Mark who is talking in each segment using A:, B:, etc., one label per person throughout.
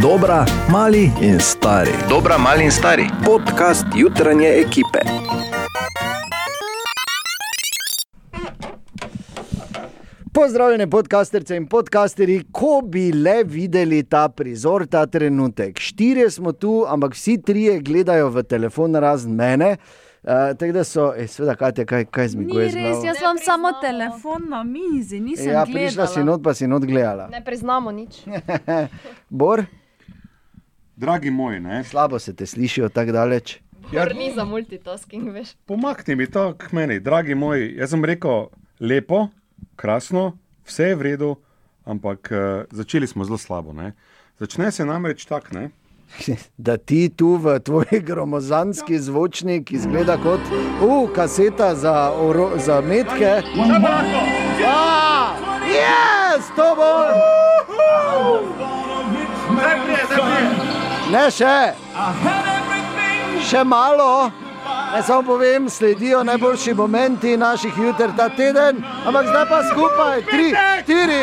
A: Dobra, mali in stari.
B: Dobra, mali in stari.
A: Podcast jutranje ekipe.
C: Pozdravljene podcasterce in podcasterji, ko bi le videli ta prizor, ta trenutek. Štirje smo tu, ampak vsi trije gledajo v telefon, razen mene. Uh, tako da so, eh, seveda, Katja, kaj, kaj
D: Ni
C: zmiguje z
D: res,
C: glavo.
D: jaz imam samo telefon na mizi, nisem
C: Ja, prišla
D: gledala.
C: si
E: no.
C: not, pa si not gledala.
F: Ne priznamo nič.
C: Bor,
G: Dragi moji, ne?
C: slabo se te slišijo tako daleč.
G: Ja,
F: Ker ni za multitasking, veš.
G: pomakni mi to k meni, dragi moji. Jaz sem rekel, lepo, krasno, vse je v redu, ampak uh, začeli smo zelo slabo. Ne? Začne se namreč tako, ne?
C: Da ti tu v tvoji gromozanski zvočnik izgleda kot uh, kaseta za, oro, za metke. Ja, yes, to bo! Ne še, še malo. Naj samo povem, sledijo najboljši momenti naših jutr ta teden, ampak zdaj pa skupaj, tri, štiri.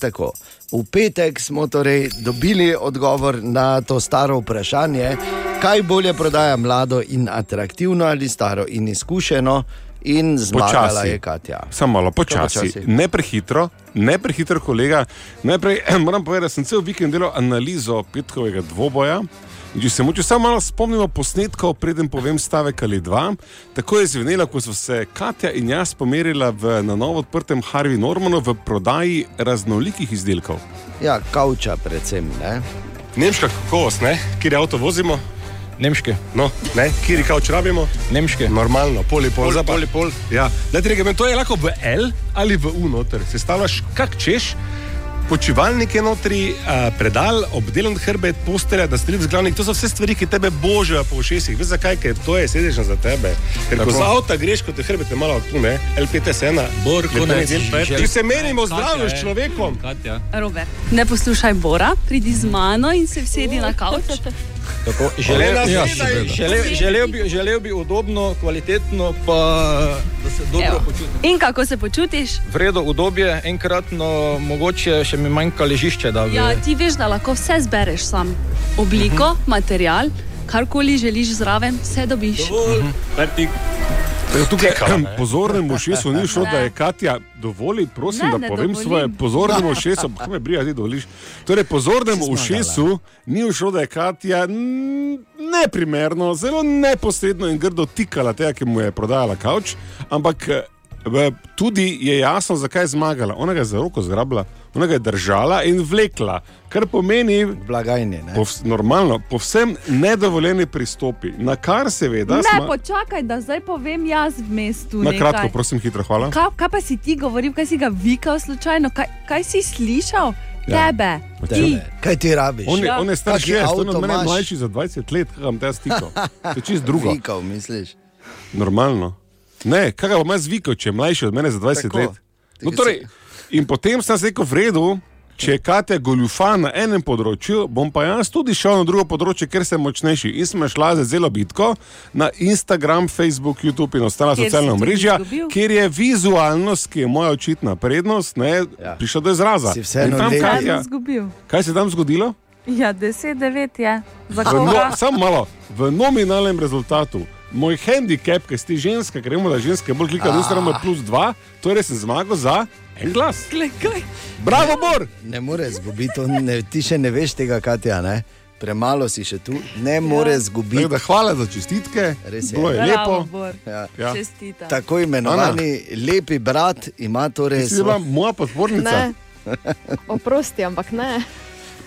C: Tako. V petek smo torej dobili odgovor na to staro vprašanje, kaj bolje prodaja mlado in atraktivno ali staro in izkušeno. In zmagala
E: Počasi.
C: je Katja.
E: Samo malo počasi,
C: Počasi.
E: počasi. ne prehitro, ne prehitro, kolega. Najprej moram povedati, da sem cel vikend delal analizo petkovega dvoboja. In Če se moče samo malo spomnimo posnetkov, preden povem stavek ali dva, tako je zvenelo, ko so se Katja in jaz pomerila v na novo odprtem Harvey Normanu v prodaji raznolikih izdelkov.
C: Ja, kavča, predvsem. Ne?
E: Nemška kakovost, ne? kjer je avto vozimo,
H: Nemške,
E: no, ne, kjer je kavč rabimo,
H: nemške.
E: normalno, poli pol,
H: Pol,
E: zdaj pa-
H: pol, pol.
E: Ja, da ti rečem, to je lahko v L ali v U noter. Se stavaš, kak češ. Počivalnik je notri, a, predal, obdelan hrbet, postelja, da streliš glavnik. To so vse stvari, ki tebe božajo po ušesih. Veš zakaj, ker to je sedežno za tebe. Ker ko
H: Tako.
E: za avto greš, kot je hrbet, je malo tu, ne, LPT-1.
H: Bor, konec.
E: Ti se merimo zdravje s
H: je.
E: človekom.
H: Katja.
I: Robert, ne poslušaj Bora, pridi z mano in se vsedi na kavč.
H: Tako,
E: Olena,
H: želel, ja,
E: sedaj.
H: želel, želel, bi, želel bi udobno, kvalitetno, pa da se dobro
I: Evo.
H: Evo. počutim.
I: In kako se počutiš?
H: Vredno udobje, enkratno, mogoče še mi manjka ležišče. Da bi...
I: Ja, ti veš, da lahko vse zbereš sam. Obliko,
E: Mhm.
I: material, karkoli želiš zraven, vse dobiš.
E: Pozornemu šesu ni šlo, da je Katja dovolj, prosim,
I: Ne,
E: da
I: ne
E: povem
I: dovolim.
E: svoje. Pozornemu šesu, pa me brija, ti doliš. Torej, pozornemu šesu ni šlo, da je Katja mm, neprimerno, zelo neposredno in grdo tikala tega, ki mu je prodajala kavč, ampak eh, v- tudi je jasno, zakaj je zmagala. Ona ga je za roko zgrabila, ona ga je držala in vlekla, kar pomeni,
C: Blagajni. Ne?
E: Povs, normalno, povsem nedovoljeni pristopi, na kar seveda
D: Ne,
E: smo.
D: počakaj, da zdaj povem jaz v mestu.
E: Na
D: nekaj.
E: kratko, prosim, hitro, hvala.
D: Kaj, kaj pa si ti govoril, kaj si ga vikal slučajno, kaj, kaj si slišal?
E: Ja.
D: Tebe, ti.
C: Tebe. Kaj ti rabiš?
E: On je,
D: Ja.
E: on je star
C: Kaki
E: 60, on je
C: avto
E: od mene
C: imaš?
E: mlajši za 20 let, kaj vam te stiko. To je čist drugo,
C: Vikal, misliš?
E: normalno. Ne, kaj ga bom jaz zvikal, če je mlajši od mene za 20
C: Tako.
E: Tako. let. No,
C: Ti
E: torej, in potem sem se rekel, v redu, če je Katja goljufa na enem področju, bom pa jaz tudi šel na drugo področje, ker sem močnejši. In sem šla za zelo bitko na Instagram, Facebook, YouTube in ostala
D: Kjer si
E: socialna
D: tudi
E: mreža,
D: izgubil.
E: kjer je vizualnost, ki je moja očitna prednost, ne,
C: Ja.
E: ja. prišla do izraza.
C: Si vseeno
E: In tam,
C: lep.
D: Kaj
E: kaj,
D: si
E: ja,
D: izgubil?
E: kaj se je tam zgodilo?
D: Ja, 10-9 je. Za
E: V
D: koga?
E: No, samo malo, v nominalnem rezultatu. Moj handicap, ki ste ženska, ker vemo, da ženske bolj klikajo, da imamo plus dva, torej sem zmagal za en glas. Bravo, Bor!
C: Ne more zgubiti, on ne, ti še ne veš tega, Katja. Ne? Premalo si še tu, ne
E: Ja.
C: more
E: Tako
C: zgubiti.
E: da Hvala za čestitke,
C: Res je.
E: bilo je lepo.
C: Ja.
E: Ja.
D: Čestita.
C: Tako imenovani Ana. lepi brat ima torej
E: Ti si bila
C: svoje.
E: moja podpornica.
F: Ne. Oprosti, ampak ne.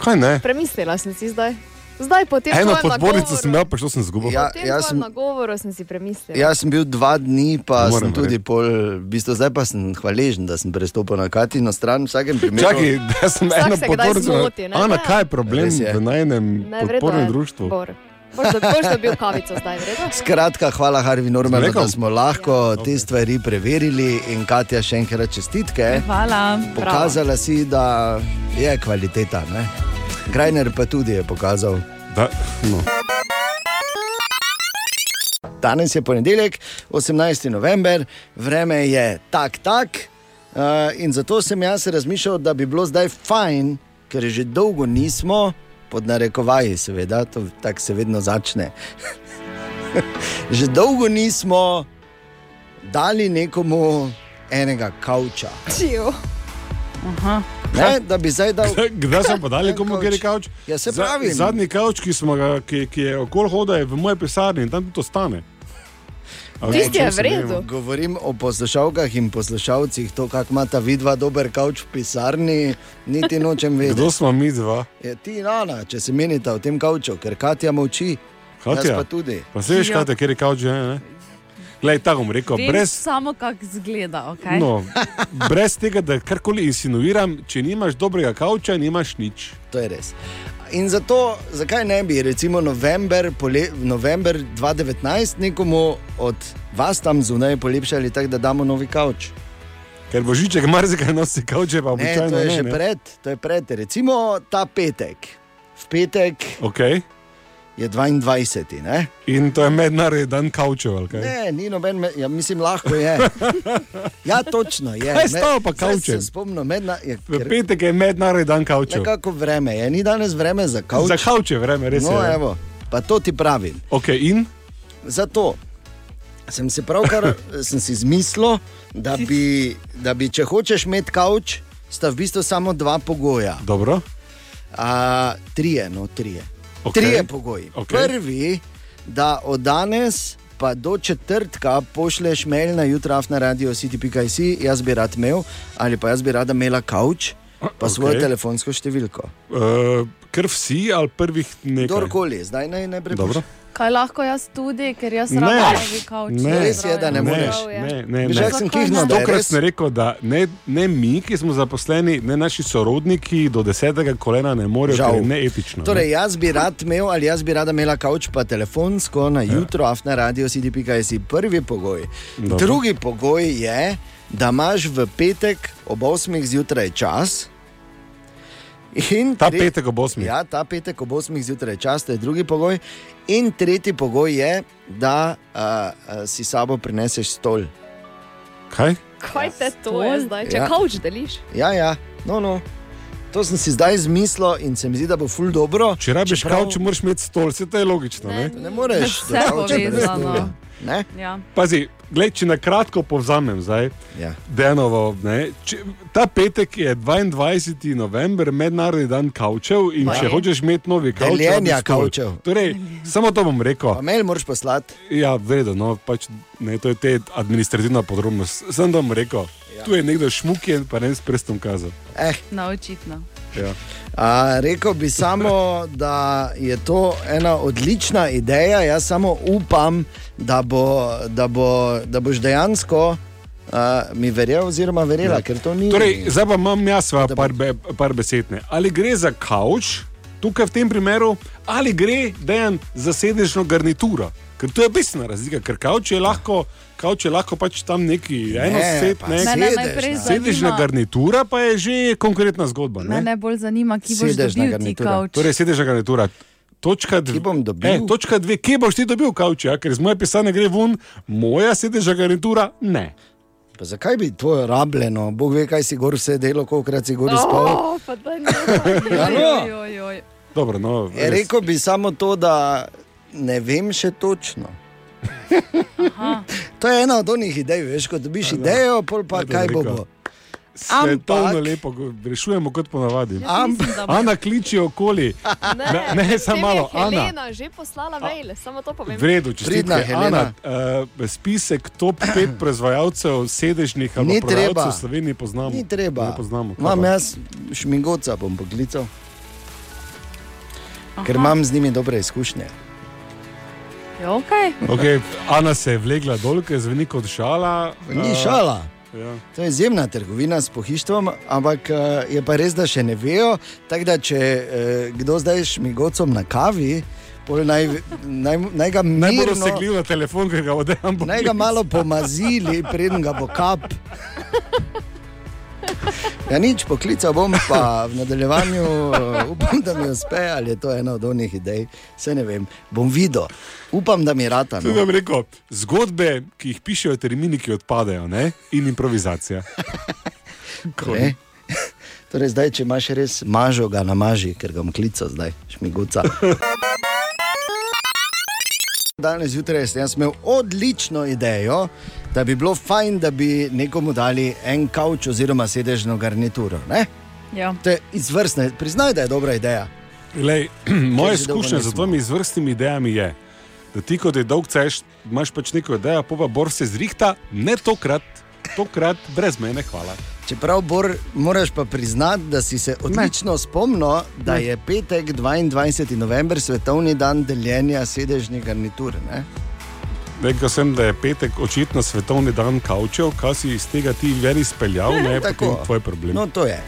E: Kaj ne?
F: Premislila sem si zdaj. Zdaj po tem
E: Eno
F: tvojem
E: podpornico
F: nagovoru-
E: sem imel, pa šel sem zgubil.
C: Ja.
F: Po tem
C: jaz
F: jaz
C: sem- Ja,
F: sem na govoru sem si premislila.
C: Jaz sem bil dva dni, pa
E: Moram
C: Moram sem tudi
E: verjeti.
C: pol, v bistvu zdaj pa sem hvaležen, da sem prestopil na Katino stran, v vsakem primeru.
E: Čakaj, da sem
F: Vsak
E: eno
F: se kdaj
E: podpornico.
F: zmoti, ne?
E: Ana,
F: Ja.
E: kaj je problem
C: Res je.
E: v najnem
F: Ne, verjetno
E: podpornem
F: je
E: društvu?
F: Bor. Boš dobil, boš dobil kavico zdaj, vredno?
C: Skratka, hvala Harvi Normanu,
E: Sem rekel? Ja,
C: da smo lahko te stvari preverili in Katja še enkrat čestitke.
D: Hvala.
C: Pokazala si, da je kvaliteta. Ne? Grajner pa tudi je pokazal.
E: Da, no.
C: Danes je ponedeljek, 18. november, vreme je tak, tak. Uh, in zato sem jaz razmišljal, da bi bilo zdaj fajn, ker že dolgo nismo, pod narekovaji, seveda, to tako se vedno začne. že dolgo nismo dali nekomu enega kavča.
F: Čil.
C: Ne, da bi zdaj dal.
E: Kdaj smo podali komu
C: Kavč.
E: kjer je kavč?
C: Ja, se pravim.
E: zadnji kavč, ki, smo ga, ki, ki je okol hoda, je v moje pisarni in tam tudi ostane. A veš, o
F: Tisti
E: čem
F: je
E: se
F: v redu.
E: gremo?
C: Govorim o poslušalkah in poslušalcih, to, kako imata vidva dober kavč v pisarni, niti nočem vedeti.
E: Kdo smo mi dva?
C: Je E, ti in Ana, če se menita v tem kavču, ker Katja molči, jaz
E: Katja,
C: pa tudi.
E: pa se veš,
D: Ja.
E: Katja, kjer je kavč že? ne? Glej, tako bom rekel,
D: Vem
E: brez
D: samo, kako zgleda. Okay?
E: No, brez tega, da karkoli insinuiram, če nimaš dobrega kavča, nimaš nič.
C: To je res. In zato, zakaj ne bi, recimo, november, pole, november 2019 nekomu od vas tam zunaj polepšali, tako da damo novi kavč?
E: Ker božiček marsikaj nosi kavče, pa
C: Ne,
E: običajno
C: to je
E: ne.
C: že
E: ne.
C: pred, to je pred. Recimo ta petek. V petek
E: Okay.
C: je 22. Ne?
E: In to je mednarodni dan kavčev. ali kaj?
C: Ne, ni noben, me, ja, mislim, lahko je. Ja, točno je.
E: Kaj je s tabo pa
C: zdaj
E: kavčem?
C: Se spomnim, medna, je,
E: V
C: ker,
E: petek je mednarodni dan kavčev.
C: nekako vreme je, ni danes vreme za kavč.
E: Za kavče vreme, res
C: No,
E: je. ja.
C: evo, pa to ti pravim.
E: Okay, in
C: Zato sem si pravkar sem si izmislil, da bi, da bi, če hočeš imeti kavč, sta v bistvu samo dva pogoja.
E: dobro.
C: A, trije, no, trije.
E: Okej.
C: Trije pogoji.
E: Okej.
C: Prvi, da od danes. Pa do četrtka pošleš mail na jutraf na radio city.js, jaz bi rad imel, ali pa jaz bi rada imela kavč, pa okay. svojo
E: okej.
C: telefonsko številko.
E: Uh, ker vsi ali prvih nekaj.
C: Kdorkoli, zdaj naj ne
E: Dobro.
C: prebiš.
D: Kaj lahko jaz tudi, ker jaz
E: Ne.
D: rabim novi kavč.
E: Ne.
C: Res je, da ne
E: ne,
C: moreš.
F: Prav je.
E: ne, ne,
C: Že
E: ne.
C: sem
D: Zakaj
C: kihnil,
D: ne?
C: da je
E: Tokrat
C: res
E: sem rekel, da ne, ne mi, ki smo zaposleni, ne naši sorodniki do desetega kolena ne morejo,
C: Žal.
E: ker je neetično. ne.
C: Torej, jaz bi rad imel, ali jaz bi rada imela kavč, pa telefonsko na jutro, ja. afna radio, cd.js, prvi pogoj.
E: Dobro.
C: Dobro. Drugi pogoj je, da imaš v petek ob 8. zjutraj čas. In
E: Ta petek ob osmih.
C: Ja, ta petek ob 8. zjutraj je čas, to je drugi pogoj. In tretji pogoj je, da uh, uh, si s sabo prineseš stol.
E: Kaj?
F: Kaj te to je zdaj? Če
C: Ja.
F: kavč deliš?
C: Ja, ja, no, no. To sem si zdaj izmislil in se mi zdi, da bo ful dobro.
E: Če rabiš
C: čeprav-
E: Čeprav... kavč, moraš imeti stol, vse to je logično. Ne?
C: Ne moreš,
D: Vse
C: do kavča brez
D: povezano.
C: stola. Ne?
D: Ja.
E: Pazi, gled, če na kratko povzamem zdaj,
C: Ja.
E: Denovo, ne, če, ta petek je 22. november, mednarodni dan kavčev in če hočeš imeti novi kavč,
C: Deljenja
E: rabiš stol.
C: kavčev.
E: Torej, samo to bom rekel.
C: Pa mail moraš poslati.
E: Ja, vedno, no, pač, ne, to je te administrativna podrobnost. Sem tam rekel, ja. tu je nekdo šmukin, pa ne s prstom kazal.
C: Eh,
D: No, očitno.
E: Ja.
C: a, rekel bi samo, da je to ena odlična ideja. Jaz samo upam, da, bo, da, bo, da boš dejansko a, mi verjel, oziroma verjela, ja. ker to ni.
E: Torej, zdaj pa imam jaz svoje par, be, par besedne. Ali gre za kavč, tukaj v tem primeru, ali gre dejan za sedežno garnituro. Ker to je bistvena razlika, ker kavč je lahko, kavč je lahko pač tam neki enosed,
C: pa
E: ne,
C: se-
E: ne,
D: Mene
C: Sedeš,
D: najprej
C: ne.
E: sedežna
D: zanima,
E: garnitura pa je že konkretna zgodba. Ne?
D: mene bolj zanima, ki boš
C: Sedežna
D: dobil ti
C: garnitura.
D: kavč.
E: Torej, sedežna garnitura. Točka dve.
C: Kje bom dobil?
E: E, točka dve, kje boš ti dobil kavč, ja? ker iz moje pisane gre ven, moja sedežna garnitura ne.
C: Pa zakaj bi to rabljeno? Bog ve, kaj si gor vse delo, kolikrat si
E: No.
C: gor spal.
F: O, pa da ne.
D: Oj, oj, oj.
E: Dobro, no,
C: E,
E: res.
C: rekel bi samo to, da ne vem še točno. to je ena od onih idej, veš, ko dobiš idejo, pol pa
E: Ajde,
C: kaj bo.
E: Riko.
C: bo.
E: Svetovno
C: Ampak-
E: lepo, go- rešujemo kot ponavadi.
C: Ampak.
E: Ana kliče okoli. Ne, ne, samo malo,
F: Ana.
E: Ana.
F: Helena že poslala mail, samo to povem.
E: V redu, če
C: Pridna
E: ste
C: Helena.
E: Ana, uh, spisek top 5 proizvajalcev sedežnih ali
C: Ni
E: pa proizvajalcev
C: treba.
E: v Sloveniji poznamo.
C: Ni treba.
E: Ne poznamo. Kaj
C: Imam
E: pa?
C: jaz šmingoca, bom poklical. Ker imam z njimi dobre izkušnje.
D: Ja, okay.
E: Okay, Ana se je vlegla dol, ker zveni kot šala.
C: Ni
E: eh,
C: šala.
E: Ja.
C: To je izjemna trgovina s pohištvom, ampak eh, je pa res, da še ne vejo. Tako da, če eh, kdo zdaj šmigocom na kavi Pol naj, naj, naj ga
E: Eh, Naj bo
C: mirno,
E: dosegljiv na telefon, ki ga odem.
C: naj ga malo pomazili, preden ga bo kap. Ja, nič poklical bom, pa v nadaljevanju eh, upam, da mi uspe, ali je to ena od onih idej, se ne vem. Bom videl, upam, da mi rata.
E: To
C: No.
E: vam rekel, zgodbe, ki jih pišejo, termini, ki odpadejo, ne? in improvizacija.
C: Ne? Torej, zdaj, če imaš res mažo, ga namaži, ker ga mklica zdaj, šmiguca. Danes zjutraj sem jaz imel odlično idejo, da bi bilo fajn, da bi nekomu dali en kavč oziroma sedežno garnituro. Ne?
D: Ja.
C: To je izvrstno, priznaj, da je dobra ideja.
E: Lej, moje
C: že dolgo
E: izkušnje z
C: nismo.
E: tvojimi izvrstnimi idejami je, da ti, ko te dolg ceš, imaš pač neko idejo, pa pa bor se zrihta, ne tokrat, tokrat brez mene, hvala.
C: Čeprav Bor, moraš pa priznati, da si se odlično ne. spomnil, da ne. je petek 22. november svetovni dan deljenja sedežnih garnitur. Ne?
E: Rekel sem, da je petek očitno svetovni dan kavčev, kaj si iz tega ti ven izpeljal, ne je
C: Tako.
E: tako tvoj problem.
C: No, to je.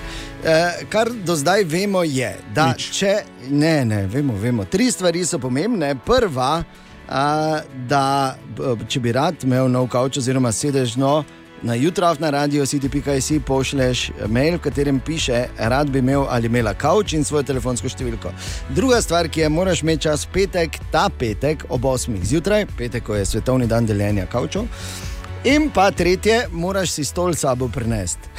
C: E, kar do zdaj vemo, je, da
E: Nič.
C: če ne, ne, vemo, vemo. Tri stvari so pomembne. Prva, a, da b- če bi rad imel nov kavč, oziroma sedežno. Na jutra na radio city.js pošleš mail, v katerem piše, rad bi imel ali imela kavč in svojo telefonsko številko. Druga stvar, ki je, moraš imeti čas petek, ta petek ob 8. zjutraj, petek, ko je svetovni dan deljenja kavčev. In pa tretje, moraš si stol s sabo prenesti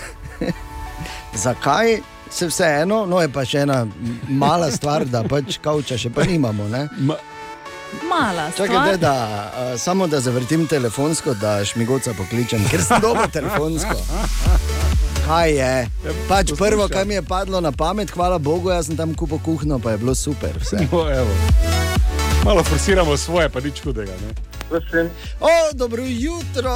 C: zakaj se vseeno, no je pa še ena mala stvar, da pač kavča še pa nimamo. Ne?
E: Ma,
D: Mala stvar.
C: Čakaj, da, da, eh, samo da zavrtim telefonsko, da šmigoca pokličem, ker sem dobro telefonsko. Kaj je? Pač prvo, kar mi je padlo na pamet, hvala Bogu, jaz sem tam kupo kuhno, pa je bilo super. Vse.
E: no, evo. Malo forsiramo svoje, pa nič hudega. Ne?
C: O, dobro jutro,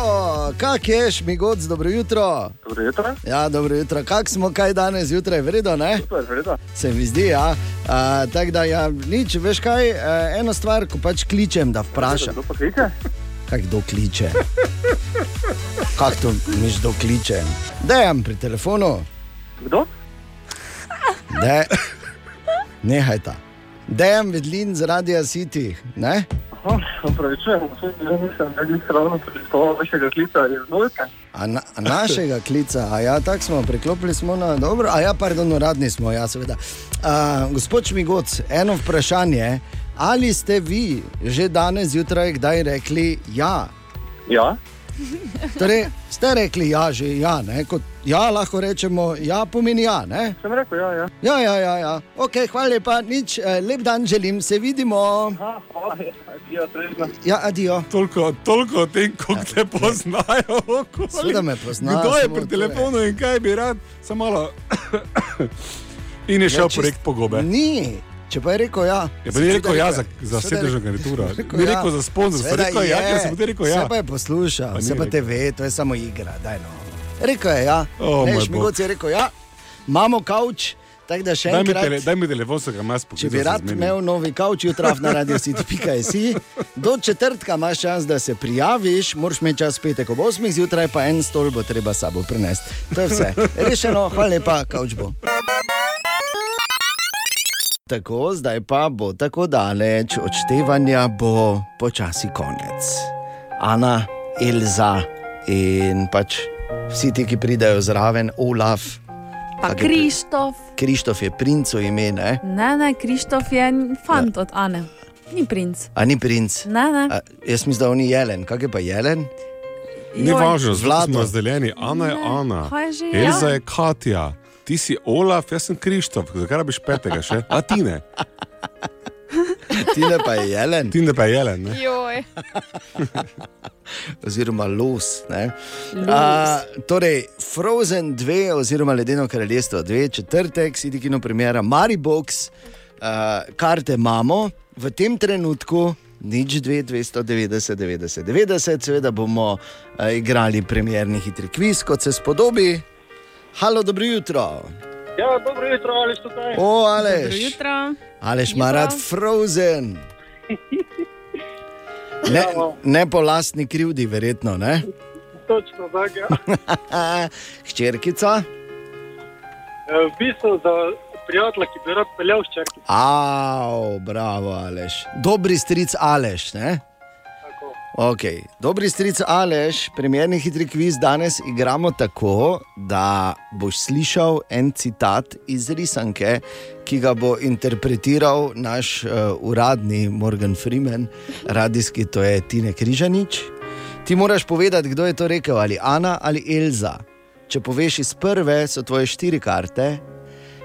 C: kak je šmigoc, dobro jutro.
I: Dobro jutro.
C: Ja, dobro jutro, kak smo kaj danes zjutraj, vredno, ne?
I: Super, vredo.
C: se mi zdi. Ja. Uh, Tako da, ja, nič, veš kaj, uh, eno stvar, ko pač kličem, da vprašam,
I: Kdo pa kliče?
C: kaj kdo kliče. Kaj to miš, kdo kliče? Dejem pri telefonu,
I: Kdo?
C: da nehaj ta. Dejem vidlin z radia City, ne?
I: Aha, No, Opravičujem, se nisem vedel, ravno pričakoval vašega klica iz Novika.
C: A na, a našega klica, a ja, tako smo, preklopili smo na dobro, a ja, pardon, uradni smo, ja, seveda. Uh, gospod Šmigoc, eno vprašanje, ali ste vi že danes zjutraj kdaj rekli ja?
I: Ja,
C: Torej, ste rekli, ja, že ja, ne? kot ja, lahko rečemo, ja, pomeni ja. Ne?
I: sem rekel, ja, ja.
C: Ja, ja, ja, ja. Okay, hvala lepa, nič, eh, lep dan želim, se vidimo.
I: Aha, hvala, ja, adijo, trežno.
C: Ja, adijo.
E: Toliko, toliko o tem, kako te poznajo. okoli.
C: Ja. Seveda me poznajo,
E: Kdo je
C: samo
E: pri
C: to ja. je.
E: telefonu in kaj bi rad, samo malo. in je šel
C: Ja,
E: ja,
C: čist-
E: projekt pogobe.
C: Ni, če pa je rekel ja. sem
E: Je pa ni
C: tudi
E: rekel ja za, za
C: Seveda
E: sedežno
C: rekel-
E: garnituro,
C: rekel
E: ni
C: ja.
E: rekel za sponzorstvo,
C: Seveda
E: rekel je ja, ker sem tudi rekel ja.
C: Vse pa je poslušal,
E: Pa ni
C: vse pa te
E: rekel.
C: ve, to je samo igra. Daj, no. Rekel je ja,
E: O, moj
C: ne,
E: bog.
C: šmigoc je rekel ja, imamo kavč, tako da še
E: Daj mi,
C: enkrat.
E: tele, daj mi telefon, se ga imaš
C: Če
E: poklicati.
C: bi rad imel novi kavč, jutra na radiju si ti.kaj si. Do četrtka imaš čas, da se prijaviš, moraš imeti čas petek ob 8, zjutraj pa en stol bo treba s sabo prenesti. To je vse. Rešeno, hvala lepa, kavč bo. Tako, zdaj pa bo tako daleč, odštevanja bo počasi konec. Ana, Elza in pač vsi ti, ki pridejo zraven, Olaf, Kaj
D: Pa
C: je pri-
D: Krištof,
C: Krištof je princu ime, ne?
D: ne, ne, Krištof je
E: Ja.
D: fant od Ane, ni princ.
C: A ni princ?
D: Ne, ne.
C: A, jaz mislim, da on ni jelen, kaj je pa jelen?
E: Ni
D: Joj.
E: važno, zelo
C: Vlado.
E: smo razdeljeni. Ana je
D: Ne,
E: Ana,
D: kaj že je?
E: Elza je Katja, ti si Olaf, jaz sem Krištof, zakaj rabiš petega še? A ti ne,
C: Ti ne pa je jelen,
E: ti ne pa je jelen. Ne?
F: Joj,
C: oziroma los. ne. A, torej, Frozen 2, oziroma Ledeno kraljestvo 2, četrtek, si ti kino premjera, Maribox, a, karte imamo v tem trenutku. Nič 2, 290, 90, 90, seveda bomo a, igrali premjerni hitri kviz, kot se spodobi. Halo, dobro jutro.
I: Ja, dobro jutro, ali ste tukaj?
C: O,
J: Dobro
C: Aleš.
J: jutro.
C: Aleš ima rad Frozen. Ne, ne po lastni krivdi, verjetno. Ne?
I: Točno, da ga.
C: Hčerkica,
I: V E, bistvu za prijatelja, ki bi rad peljal s črki.
C: Av, bravo, Aleš. Dobri stric Aleš, ne? Okay. Dobri stric Aleš, premjerni hitri kviz danes igramo tako, da boš slišal en citat iz risanke, ki ga bo interpretiral naš uh, uradni Morgan Freeman, radijski to je Tine Križanič. Ti moraš povedati, kdo je to rekel, ali Ana ali Elza. Če poveš iz prve, so tvoje štiri karte,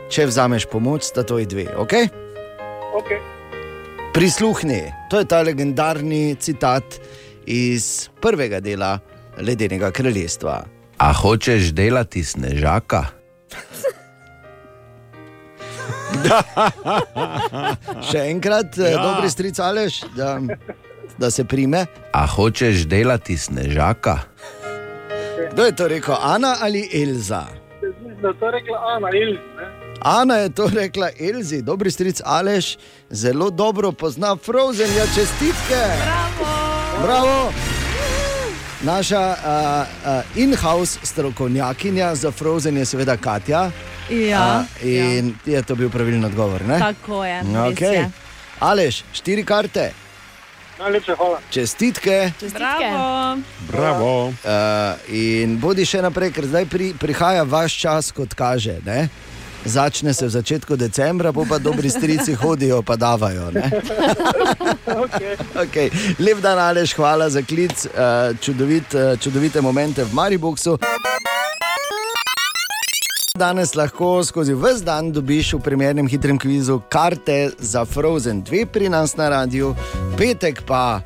C: če vzameš pomoč, sta to dve, ok?
I: Ok,
C: Prisluhni, to je ta legendarni citat iz prvega dela Ledenega kraljestva.
H: A hočeš delati snežaka?
C: Še enkrat, ja. dobri stric Aleš, da, da se prime.
H: A hočeš delati snežaka?
C: Kdo je to rekel, Ana ali Elza?
I: mislim, da je to rekla Ana Ilz.
C: Ana je to rekla Elzi, dobri stric Aleš, zelo dobro pozna Frozen, ja čestitke. Bravo! Bravo. Naša uh, uh, in-house strokovnjakinja za Frozen je seveda Katja.
D: Ja,
C: A, in ja. je to bil pravilen odgovor.
E: eh.
C: Ne?
D: Tako je. res
C: Okay.
D: je.
C: Aleš, štiri karte,
I: Najlepša hvala.
C: čestitke.
D: Bravo.
E: Bravo.
C: Uh, in bodi še naprej, ker zdaj pri, prihaja vaš čas, kot kaže. Ne? Začne se v začetku decembra, pa, pa dobri strici hodijo, pa davajo. ne? okay. Lep dan, Aleš, hvala za klic, uh, čudovit, uh, čudovite momente v Mariboku. Danes lahko skozi vse dan dobiš v primernem hitrem kvizu karte za Frozen 2 pri nas na radiju, petek pa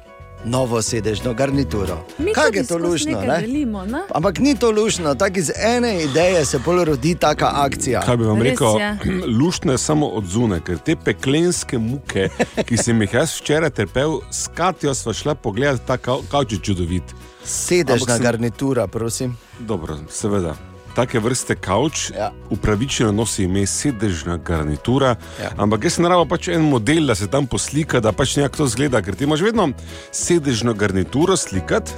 C: novo sedežno garnituro.
D: Mi
C: Kaj
D: tudi
C: je to
D: skozi
C: lušno?
D: nekaj
C: Ne?
D: Delimo, ne?
C: Ampak ni to lušno, tako iz ene ideje se pol rodi taka akcija.
E: Kaj bi vam
D: Res
E: rekel,
D: je.
E: luštno je samo odzune, ker te peklenske muke, ki sem jih jaz včeraj trpel, s Katijo sva šla pogledat, tako kot je čudovit.
C: Sedežna
E: Ampak sem-
C: garnitura, prosim.
E: Dobro, seveda. Take vrste kavč
C: Ja.
E: ja. upravičeno nosi ime sedežna garnitura,
C: Ja.
E: ja. ampak jaz sem naravno pač en model, da se tam poslika, da pač nekako to zgleda, ker ti imaš vedno sedežno garnituro slikati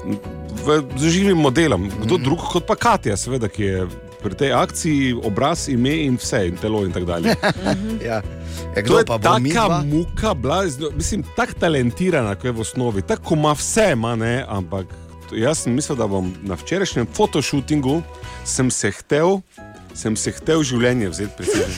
E: v- z živim modelom. Kdo mm. drug kot pa Katja, seveda, ki je pri tej akciji obraz, ime in vse, in telo in tako dalje.
C: Ja. Ja,
E: To
C: kdo
E: je
C: pa bo
E: taka
C: midva?
E: muka, bila, zelo- mislim, tako talentirana, ko je v osnovi, tako ko ima vse, ima, ne, ampak to- jaz sem mislil, da bom na včerajšnjem fotoshootingu sem se htel. Sem se htel življenje vzeti pri sebi.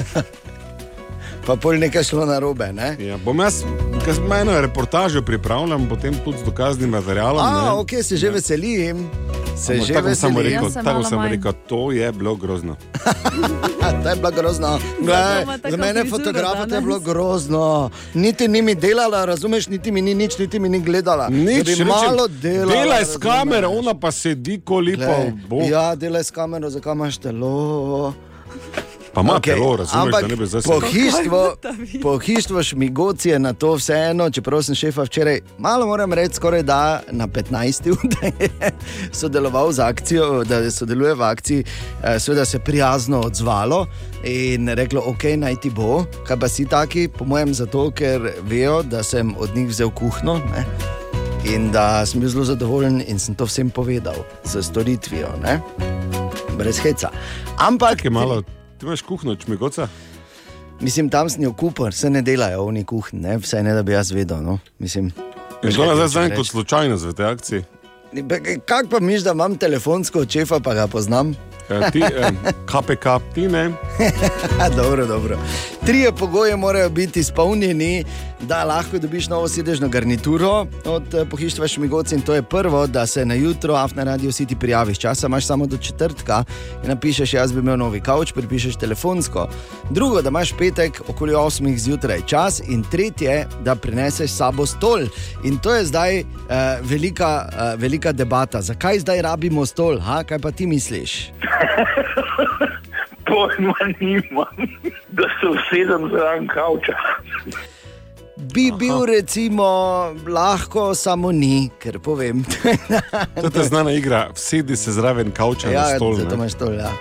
C: Pa pol nekaj šlo na robe. Ne?
E: Ja, bom jaz, ki sem eno reportažo pripravljam, potem tudi z dokaznim materialom.
C: A,
E: ne. Ja.
C: ok, se že veselim. Se
E: Ampak
C: že Ja,
E: tako bom samo
C: veselim.
E: rekel,
D: Jaz sem
E: tako
D: malo
E: sem
D: manj.
E: rekel, to je bilo grozno.
C: A, Ja, to je bilo grozno. Glej,
D: ima tako
C: za mene
D: frizuro
C: fotografirate je
D: danes.
C: bilo grozno. Niti ni mi delala, razumeš, niti mi ni nič, niti mi ni gledala. Da
E: Nič,
C: bi
E: rečem,
C: malo delala.
E: delaj s
C: razumeš.
E: kamero, ona pa sedi kolipa
C: Glej,
E: v boju.
C: Ja, delaj s kamero, zakaj imaš telo.
E: Pa ima
C: Okej,
E: okay, telo, razumeš,
C: ampak
E: da ne bi zdaj sedel.
C: Pohištvo, pohištvo šmigoci je na to vseeno, čeprav sem šefa včeraj, malo moram reči, skoraj da na 15. ur, da je sodeloval z akcijo, da sodeluje v akciji, eh, seveda se je prijazno odzvalo in reklo, ok, naj ti bo, kaj pa si taki, po mojem zato, ker vejo, da sem od njih vzel kuhno. Ne? In da sem bil zelo zadovoljen, in sem to vsem povedal, z storitvijo, ne? brez heca. Ampak,
E: Tak je malo, ti imaš kuhno, čmigoca.
C: Mislim, tam sem jo kupil, se ne delajo oni kuhinje, vse ne da bi jaz vedel. No? Mislim,
E: Je šlo nazaj za
C: reči.
E: eno slučajno z te akcije.
C: Kaj pa miš, da imam telefonsko od šefa, pa ga poznam?
E: Eh, Ti, eh, KPK, ti ne.
C: Ha, dobro, dobro. Trije pogoji morajo biti izpolnjeni, da lahko dobiš novo sedežno garnituro od eh, pohištva Šmigoc. In to je prvo, da se na jutro, a na radio si ti prijaviš. Časa imaš samo do četrtka in napišeš, jaz bi imel novi kavč, pripišeš telefonsko. Drugo, da imaš petek okoli 8 zjutraj čas. In tretje, da prineseš s sabo stol. In to je zdaj eh, velika, eh, velika debata. Zakaj zdaj rabimo stol? Ha? Kaj pa ti misliš?
I: Pojma nimam, da se usedem zraven kavča.
C: Bi Aha. bil recimo lahko, samo ni, ker povem.
E: To je ta znana igra, sedi se zraven kavča na stol.
C: zato
E: ne.
C: imaš Ja, to, ja.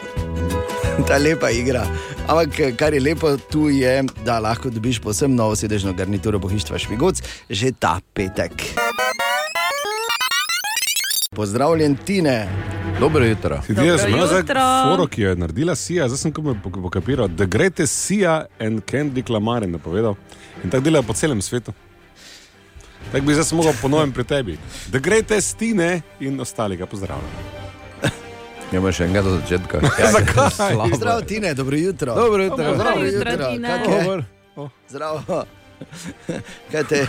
C: Ta lepa igra. Ampak kar je lepo tu je, da lahko dobiš posebno novo sedežno garnituro pohištva Švigoc že ta petek. Pozdravljen, Tine.
H: Dobro jutro.
E: Ti delaš malo za foro, ki jo je naredila Sija, zdaj sem komaj pok- pokapiral, da greste Sija in Kendrick Lamar je napovedal. In tako delajo po celem svetu. Tako bi zdaj mogel ponovim pri tebi. Da greste stine in ostalega pozdravljam.
H: Ja, imaš enega do začetka. Ja,
E: Zakaj?
H: slabo je.
C: Zdravo, Tine, dobro jutro.
H: Dobro jutro.
C: Dobro
H: Dobro
C: jutro,
J: jutro, Tine.
C: Kako je?
H: Dobro.
C: Zdravo. Kaj te?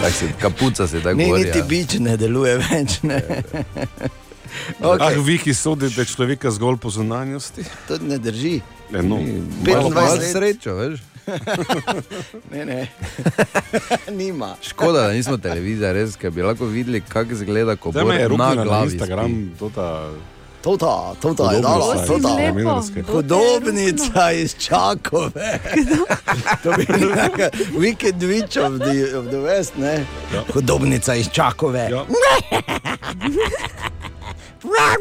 H: Tako si, kapuca se tako
C: Ne,
H: govori.
C: niti
H: ja.
C: bič ne deluje več. Ne.
E: Okay. Ah,
C: Okay,
E: vi, ki sodite človeka zgolj po zunanjosti.
C: to ne drži.
E: Ja, no.
H: Malo,
C: 25
H: malo
C: let.
H: srečo, veš.
C: Ne, ne. Nima.
H: Škoda, da nismo televizija, res, ker bi lahko videli, kako izgleda, ko
E: Zdaj
H: bo
E: me je
H: na
E: rupnila na
H: glavi. spi.
E: Instagram, to ta
C: Tota, tota je
E: podobno
C: dala,
E: stvar,
C: tota.
E: iz
D: lepo.
E: novinarske.
C: Podobnica iz Čakove. to bi bil neka Wicked Witch of the, of the West, ne?
E: Ja.
C: Podobnica iz Čakove.
E: Ja.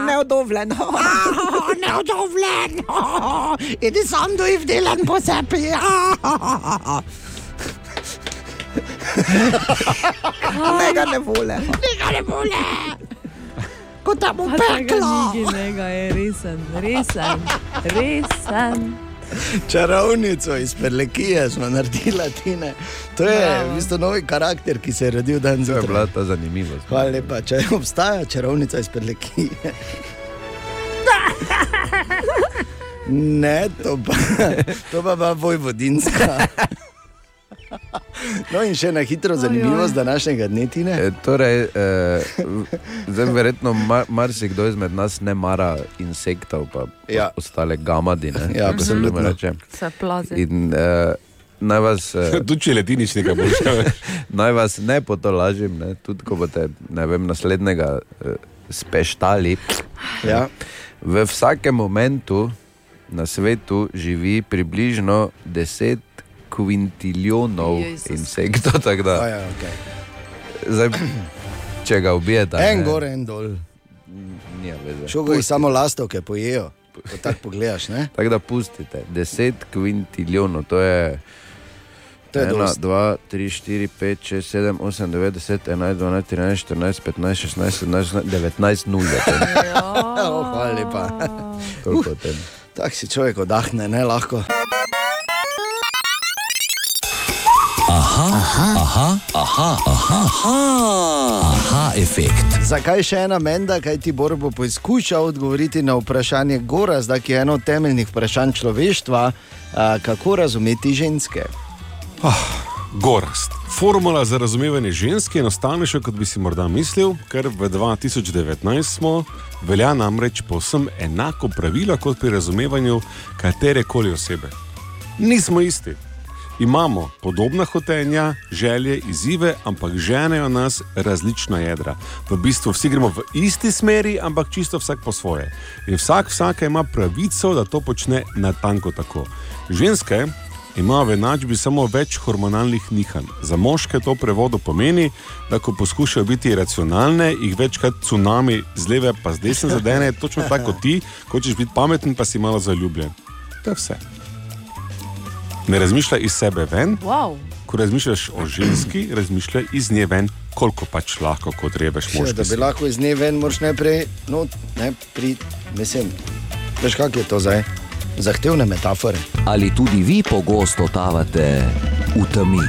C: Neodovljen. Ah, Neodovljen. Idi sam do jih delan po sebi. Mega ne vole. Mega ne vole. Kot da bo
D: Tega ni genega, je resen, resen, resen.
C: Čarovnico iz Perlekije smo naredili, Tine. To je v bistvu novi karakter, ki se je rodil danes
H: To je
C: zjutraj.
H: bila ta zanimivost.
C: Hvala lepa, če obstaja čarovnica iz Perlekije. Ne, to pa, to pa pa vojvodinska. No in še na hitro zanimivost današnjega dne, Tine.
H: E, Torej, eh, zdaj, verjetno mar, marsikdo izmed nas ne mara insektov, pa
C: Ja.
H: ja. ostale gamadi. Ne,
C: Ja,
H: kako se temu
C: absolutno.
H: reče.
D: Se plazi.
H: In eh, naj vas. Eh,
E: Tudi če letiniš nekaj boljšega.
H: Naj vas ne potolažim, ne? tudi ko boste ne vem, naslednjega eh, speštali.
C: Ja.
H: V vsakem momentu na svetu živi približno 10 kvintiljonov
J: Jezus.
H: insektov. tako da,
C: A Ja, okay.
H: Zdaj, če ga ubijete,
C: En
H: ne,
C: gor, en dol.
H: nima veze.
C: Šogoji samo lastovke pojejo. Ko Tako pogledaš, ne?
H: Tako da pustite, 10 kvintiljonov, to je
C: To je
H: 1,
C: dosti.
H: 2, 3, 4, 5, 6, 7, 8, 9, 10, 11, 12, 13, 14, 15, 16, 17, 19, 0.
C: Oh, hvala lepa.
H: Toliko o tem.
C: Tako si človek oddahne, ne lahko.
A: Aha, efekt.
C: Zakaj še ena menda, kaj ti Bor bo poskušal odgovoriti na vprašanje Gora, zdaj ki je eno od temeljnih vprašanj človeštva, a, kako razumeti ženske?
E: Gorast. Formula za razumevanje žensk je enostavnejša, kot bi si morda mislil, ker v 2019 smo, velja namreč povsem enako pravilo kot pri razumevanju katere koli osebe. Nismo isti. Imamo podobna hotenja, želje, izzive, ampak ženejo nas različna jedra. V bistvu vsi gremo v isti smeri, ampak čisto vsak po svoje. In vsak, vsaka ima pravico, da to počne natanko tako. Ženske imajo v enačbi samo več hormonalnih nihanj. Za moške to v prevodu pomeni, da ko poskušajo biti racionalne, jih večkrat tsunami z leve pa z desne zadene, točno tako kot ti, ko hočeš biti pameten, pa si malo zaljubljen. To je vse. Ne razmišljaj iz sebe ven,
D: Wow.
E: ko razmišljaš o ženski, razmišljaj iz nje ven, koliko pač lahko, kot rebeš
C: Še, da
E: možnosti.
C: bi lahko iz dne ven, moraš najprej, no, ne, pri, mislim, veš, kak je to zdaj? Zahtevne metafore.
A: Ali tudi vi pogosto totavate v temi?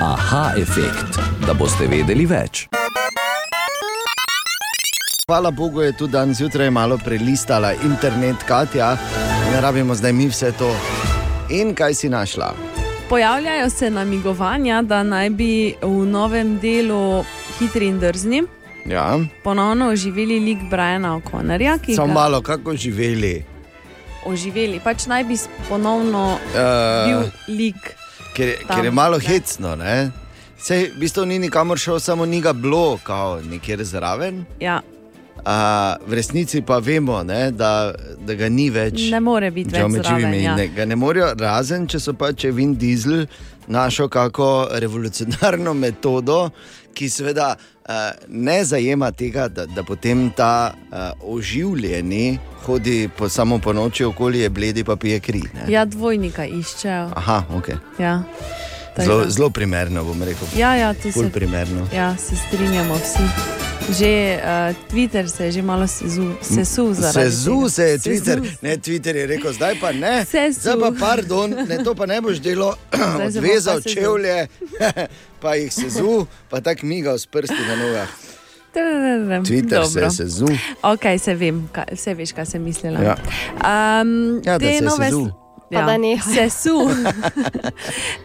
A: Aha, efekt. Da boste vedeli več.
C: Hvala Bogu je tudi danes zjutraj malo prelistala internet, Katja, ne rabimo zdaj mi vse to. In kaj si našla?
D: Pojavljajo se namigovanja, da naj bi v novem delu hitri in drzni
C: Ja,
D: ponovno oživeli lik Briana O'Connorja, ki
C: samo
D: ga
C: malo, kako živeli.
D: oživeli. Pač naj bi s- ponovno
C: Uh,
D: bil lik.
C: ker,
D: Tam,
C: ker je malo
D: ne.
C: hecno. Ne? Sej, v bistvu ni nikamor šel, samo ni ga bilo, kao nekjer zraven.
D: Ja,
C: A, v resnici pa vemo, ne, da, da ga ni več.
D: ne more biti več
C: John
D: zraven.
C: McGivney,
D: Ja.
C: ne, ga ne morejo, razen če so pa če Vin Diesel našel kako revolucionarno metodo, ki seveda eh, ne zajema tega, da, da potem ta eh, oživljeni hodi po samo po noči okoli, je bledi pa pije kri. ne.
D: ja, dvojnika iščejo.
C: Aha, ok.
D: Ja. Tako
C: Zelo,
D: da-
C: zelo primerno, bom rekel.
D: Ja, ja, to
C: Ful
D: se-
C: primerno.
D: Ja, se strinjamo vsi. Že uh, Twitter se je že malo sezu- sesul zaradi
C: Sezu
D: tega.
C: se je
D: Sesul
C: Twitter, ne Twitter je rekel, zdaj pa ne. Zdaj pa pardon, ne, to pa ne boš delo,
D: se bo
C: odvezal
D: pa sezul.
C: čevlje, pa jih sezu, pa tako migal s prsti na nogah.
D: Tadadadam.
C: Twitter Dobro. se je
D: Dobro.
C: sezu.
D: Ok, se vem, kaj, vse veš, kaj sem mislila.
C: Ja.
D: um,
C: Ja, da se je sezul.
F: Pa da nehaj.
D: ja, sesu.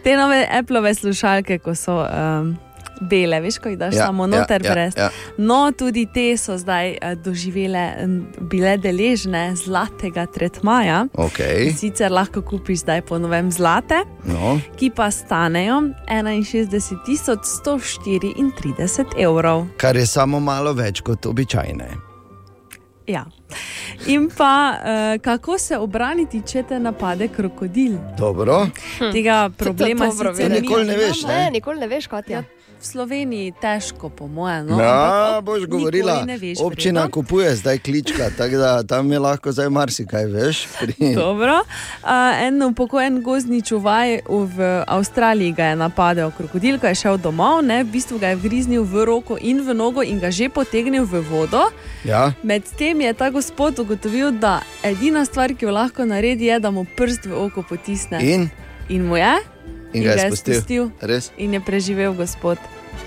D: te nove Apple slušalke, ko so um, bele, veš, ko jih daš
J: Ja,
D: ja, samo
J: ja,
D: noter
J: ja,
D: ja, brez.
J: ja.
D: Ja. No, tudi te so zdaj eh, doživele, em, bile deležne zlatega tretmaja.
C: Okej.
D: Sicer lahko kupiš zdaj po novem zlate,
C: No.
D: ki pa stanejo 61.134 evrov.
C: Kar je samo malo več kot običajne.
D: Ja. In pa eh, kako se obraniti, če te napade krokodil?
C: Dobro.
F: Hm.
D: Tega problema
F: dobro
D: sicer
F: vedeti.
D: mi
F: Nikoli ne
C: veš,
D: nimamo.
C: ne?
F: Ne, nikoli ne veš, kot je.
D: V Sloveniji težko, po mojem.
C: No,
D: No,
C: ja,
D: ampak,
C: boš
D: nikoli
C: govorila,
D: ne veš,
C: občina
D: verjetno.
C: kupuje zdaj klička, tako da tam je lahko zdaj marsikaj, veš. Pri...
D: Dobro. Uh, en upokojen gozni čuvaj v Avstraliji ga je napadel krokodil, ko je šel domov, ne? v bistvu ga je vriznil v roko in v nogo in ga že potegnil v vodo.
C: Ja.
D: Medtem je ta gospod ugotovil, da edina stvar, ki jo lahko naredi, je, da mu prst v oko potisne.
C: In?
D: in mu je?
C: In ga je spustil. Res?
D: In je preživel gospod.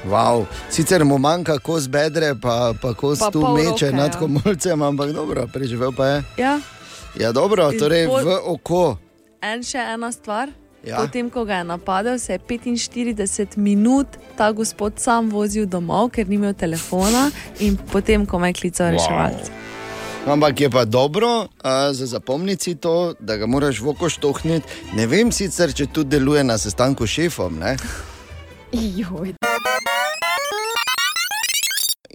C: Wow. Sicer mu manjka kos bedre, pa, pa kos
D: Pa
C: pa tu
D: pol
C: meče
D: roke,
C: roke, nad
D: ja.
C: komolcem, ampak dobro, preživel pa je.
D: Ja.
C: Ja, dobro,
D: In
C: torej
D: pol-
C: v oko.
D: En še ena stvar.
C: Ja.
D: Potem, ko ga je napadel, se je 45 minut ta gospod sam vozil domov, ker ni imel telefona, in potem, ko me je klical reševalec.
C: Ampak je pa dobro a, za zapomniti to, da ga moraš v oko štohniti. Ne vem sicer, če tu deluje na sestanku s šefom. Ne?
F: Joj.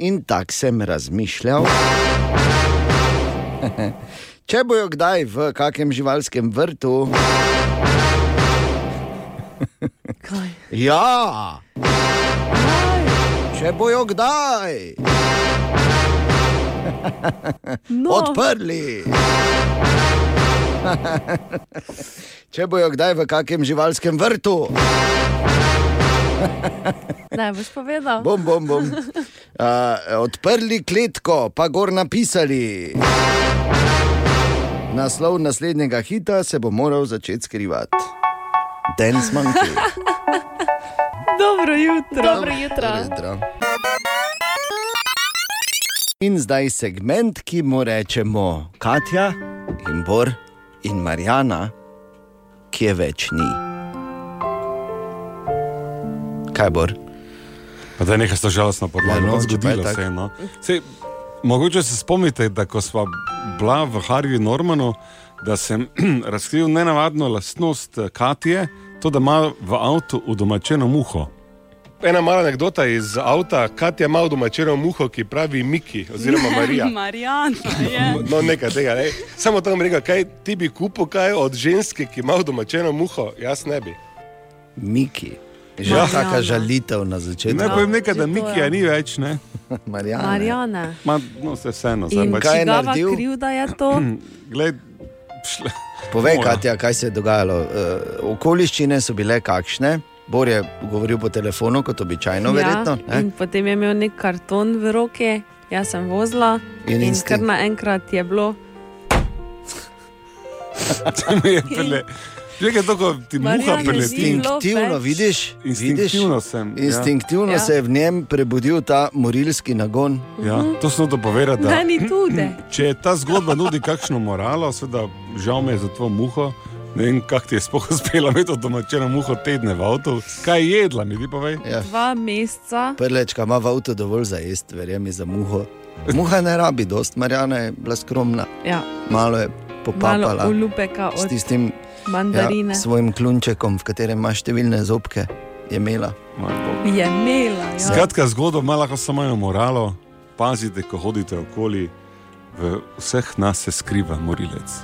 C: In tako sem razmišljal. Če bojo kdaj v kakem živalskem vrtu.
D: Kaj?
C: Ja! Če bojo kdaj
D: no.
C: odprli. Če bojo kdaj v kakem živalskem vrtu,
D: Ne boš povedal.
C: bom, bom, bom. Uh, odprli kletko, pa gor napisali. Naslov naslednjega hita se bo moral začeti skrivati. Dance Monkey.
D: Dobro jutro.
F: Dobro jutro.
C: jutro. In zdaj segment, ki mu rečemo Katja in Bor in Marijana, ki je več ni. Kaj bo?
E: Pa da je nekaj sta žalostna podlaga,
C: Ja, no,
E: no,
C: če pa je
E: zgodilo
C: tako.
E: se je. No. Sej, mogoče se spomnite, da ko sva bila v Harviju Normanu, da sem razkril nenavadno lastnost eh, Katije, to, da ima v avtu udomačeno muho.
G: Ena mala anekdota iz avta, Katja ima domačeno muho, ki pravi Miki oziroma Marija.
J: Marijana je.
G: No, nekaj tega, ne. Samo tam rekel, kaj ti bi kupil kaj od ženske, ki ima domačeno muho, jaz ne bi.
C: Miki. Že
G: Ja.
C: taka žalitev na začetku.
E: Ne povem nekaj, da
D: že to,
E: Mikija
D: ja.
E: ni več. Ne?
C: Marjana.
D: Marijana.
E: Ma, no, se vseeno, zdaj
D: In
E: pač.
D: kaj je naredil? Krivda je to.
E: Glej,
C: Povej,
E: Mora.
C: Katja, kaj se je dogajalo. Uh, okoliščine so bile kakšne. Bor je govoril po telefonu, kot običajno, verjetno.
D: ja,
C: ne?
D: in potem je imel nek karton v roki, jaz sem vozila
C: In
D: in, in
C: instinkt.
D: kar naenkrat je bilo.
E: Če mi je prele... Že je to, ko ti muha
D: Marjana ni
E: preleti.
D: bilo
C: Instinktivno,
D: več.
C: vidiš?
E: Instinktivno
C: vidiš?
E: sem, ja.
C: Instinktivno
D: Ja.
C: ja. se je v njem prebudil ta morilski nagon.
E: Ja,
D: Mhm.
E: to sem hotel povedati.
D: Da, ni tudi.
E: Če ta zgodba nudi kakšno moralo, seveda žal mi je za to muho. Ne vem, kako ti je sploh uspelo imeti od domačega muho tedne v avtu. Kaj je jedla, mi ti povej?
C: Ja.
D: Dva meseca.
C: Prlečka ima v avtu dovolj za jesti, verjemi za muho. Muha ne rabi, dost Marjana je bila skromna.
D: Ja.
C: Malo je popapala
D: Malo olupeka
C: s
D: od
C: tistim ja,
D: mandarine.
C: svojim klunčekom, v katerem ima številne zobke, je imela.
D: Je imela. Ja.
E: Skratka, zgodba ima lahko samo eno moralo. Pazite, ko hodite okoli, v vseh nas se skriva morilec.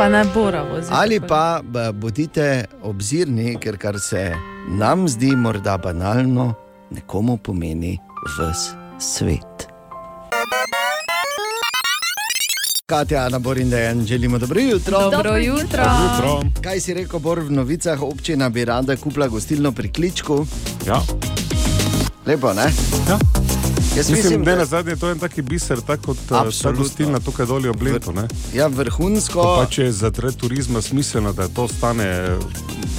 D: Pa ne bora vozila.
C: Ali pa b- bodite obzirni, ker kar se nam zdi morda banalno, nekomu pomeni vse svet. Katja, na Borin, da jim želimo dobro jutro.
D: Dobro jutro. Dobro jutro.
C: Kaj si rekel, Bor, v novicah občina bi rada kupila gostilno pri Kličku?
E: Ja.
C: Lepo, ne?
E: Ja.
C: Jaz mislim,
E: Mislim, mislim,
C: da-
E: da je na zadnje to en taki biser, tako kot eh, ta
C: Absolutno.
E: gostilna tukaj dolje obleto. ne.
C: Ja, vrhunsko.
E: Pa pač če je za tre turizma smiselno, da to stane eh,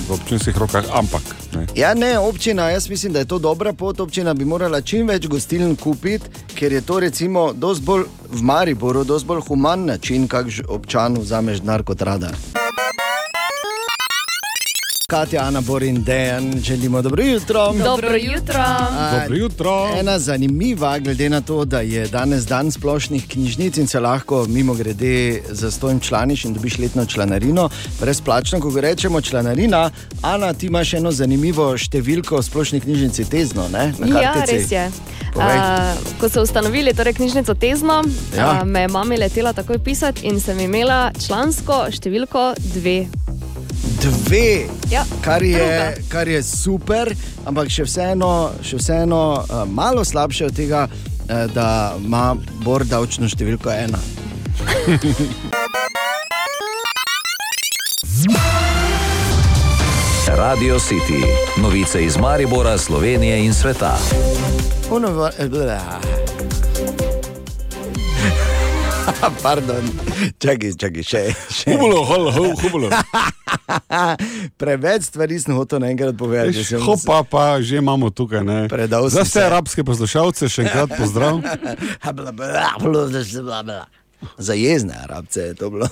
E: v občinskih rokah, ampak. Ne.
C: Ja, ne, občina, jaz mislim, da je to dobra pot. Občina bi morala čim več gostiln kupiti, ker je to recimo dosti bolj v Mariboru, dosti bolj human način, kak ž- občanu vzameš denar kot rada. Katja, Ana, Borin, Dejan, želimo dobro jutro.
D: Dobro jutro.
C: A,
E: Dobro jutro.
C: Ena zanimiva, glede na to, da je danes dan splošnih knjižnic in se lahko mimo grede za stojim članiš in dobiš letno članarino, brezplačno, ko rečemo članarina. Ana, ti imaš eno zanimivo številko v splošni knjižnici Tezno, ne? Na
F: Ja,
C: kartici.
F: res je.
C: Povej.
F: Uh, ko so ustanovili torej knjižnico Tezno,
C: Ja.
F: ja. uh, me je mama letela takoj pisati in sem imela člansko številko dve.
C: Dve,
F: Ja,
C: kar je,
F: druga.
C: kar je super, ampak še vseeno, še vseeno eh, malo slabše od tega, eh, da ima Bor davčno številko ena.
A: Radio City. Novice iz Maribora, Slovenije in sveta.
C: Ono, Pardon, čakaj, čakaj, še. še.
E: Hubulo, hol, hol, hubulo.
C: Preveč stvari sem hotel naenkrat povedati. Ja, že
E: Veš,
C: sem-
E: Hopa, pa že imamo tukaj. Ne.
C: Predal
E: Za
C: sem
E: vse
C: se.
E: arabske poslušalce še enkrat pozdrav.
C: Za jezne arabce je to bilo.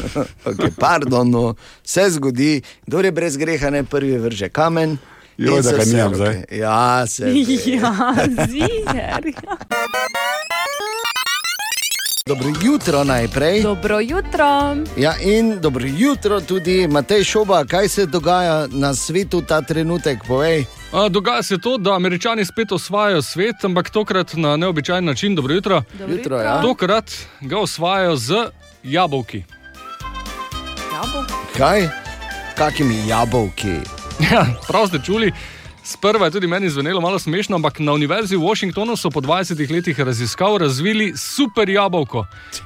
C: okay, pardon, no. se zgodi, kdo je brez greha, ne prvi vrže kamen. in
E: Joj, da
C: so
E: ga
C: vse
E: nimam
C: roke-
E: zdaj.
C: Ja, se.
D: Ja, ziger.
C: Dobro jutro najprej.
D: Dobro jutro.
C: Ja, in dobro jutro tudi Matej Šoba, kaj se dogaja na svetu ta trenutek, povej.
K: A, dogaja se to, da američani spet osvajajo svet, ampak tokrat na neobičajen način. Dobro jutro.
C: Dobro Jutro, jutro. ja.
K: Tokrat ga osvajajo z jabolki.
C: Kaj? Kakimi jabolki?
K: Ja, prav ste čuli. Sprva je tudi meni zvenelo malo smešno, ampak na Univerzi v Washingtonu so po 20 letih raziskav razvili super jabolko.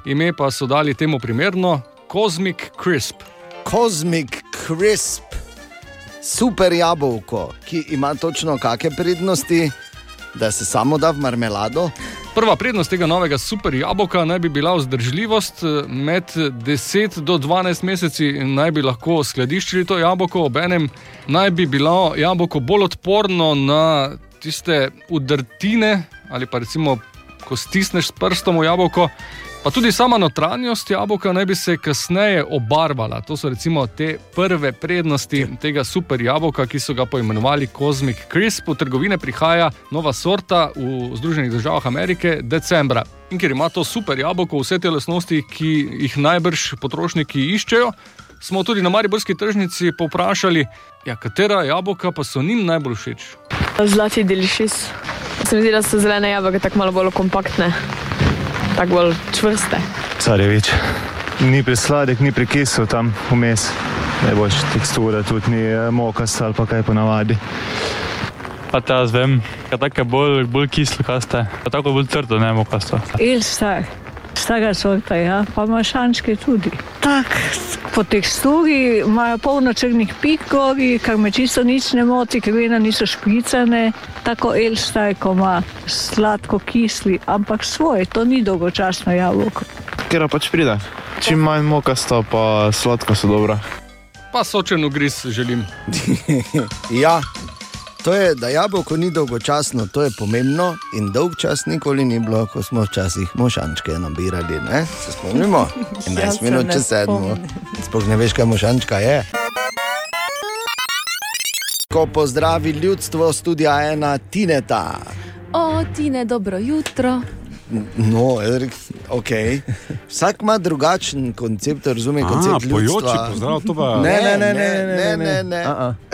K: Ime pa so dali temu primerno Cosmic Crisp.
C: Cosmic Crisp, super jabolko, ki ima točno kakšne prednosti, da se samo da v marmelado.
K: Prva prednost tega novega super jabolka naj bi bila vzdržljivost. eh, Med 10 do 12 meseci naj bi lahko skladiščili to jabolko, obenem naj bi bilo jabolko bolj odporno na tiste udrtine ali pa recimo, ko stisneš s prstom v jabolko. Pa tudi sama notranjost jabolka naj bi se kasneje obarvala. To so recimo te prve prednosti tega super jabolka, ki so ga poimenovali Cosmic Crisp. V trgovine prihaja nova sorta v Združenih državah Amerike decembra. In ker ima to super jabolko vse te lasnosti, ki jih najbrž potrošniki iščejo, smo tudi na Mariborski tržnici povprašali, ja, katera jabolka pa so njim najbolj všeč.
L: Zlati delišis. Se mi zdi, da so zelene jabolke tako malo bolj kompaktne, tako bolj čvrste.
M: Carevič. Ni presladek, ni prekisel tam vmes. Najboljša tekstura, tudi ni eh, mokasta ali pa kaj ponavadi.
N: Pa ta zvem, tako je bolj, bolj kislo, kaste, pa tako bolj trdo, ne mokasto.
O: Ilsa, stara sorta, ja, pa mašančke tudi. Tak, po teksturi imajo polno črnih pik gori, kar me čisto nič ne moti, ker vena niso špricane. Tako Ilsa, ko ima sladko kisli, ampak svoje, to ni dolgočasno jabolko.
M: Ker pač pride. Čim manj mokasta, pa sladko so dobra.
K: Pa sočen ugriz želim.
C: ja, to je, da jabolko ni dolgočasno, to je pomembno in dolg čas nikoli ni bilo, ko smo včasih mošančke nabirali. Ne? Se spomnimo?
H: Ja, se
C: 11 minut
H: ne
C: čez sedmo.
H: spomnim.
C: Sploh ne veš, kaj mošančka je. Ko pozdravi ljudstvo, studia ena Tineta.
D: O, Tine, dobro jutro.
C: No, jaz rek- okay. Vsak ima drugačen koncept, razume
E: A,
C: koncept
E: pojoči
C: ljudstva.
E: pozdrav, to pa-
C: Ne, ne, ne, ne, ne, ne, ne.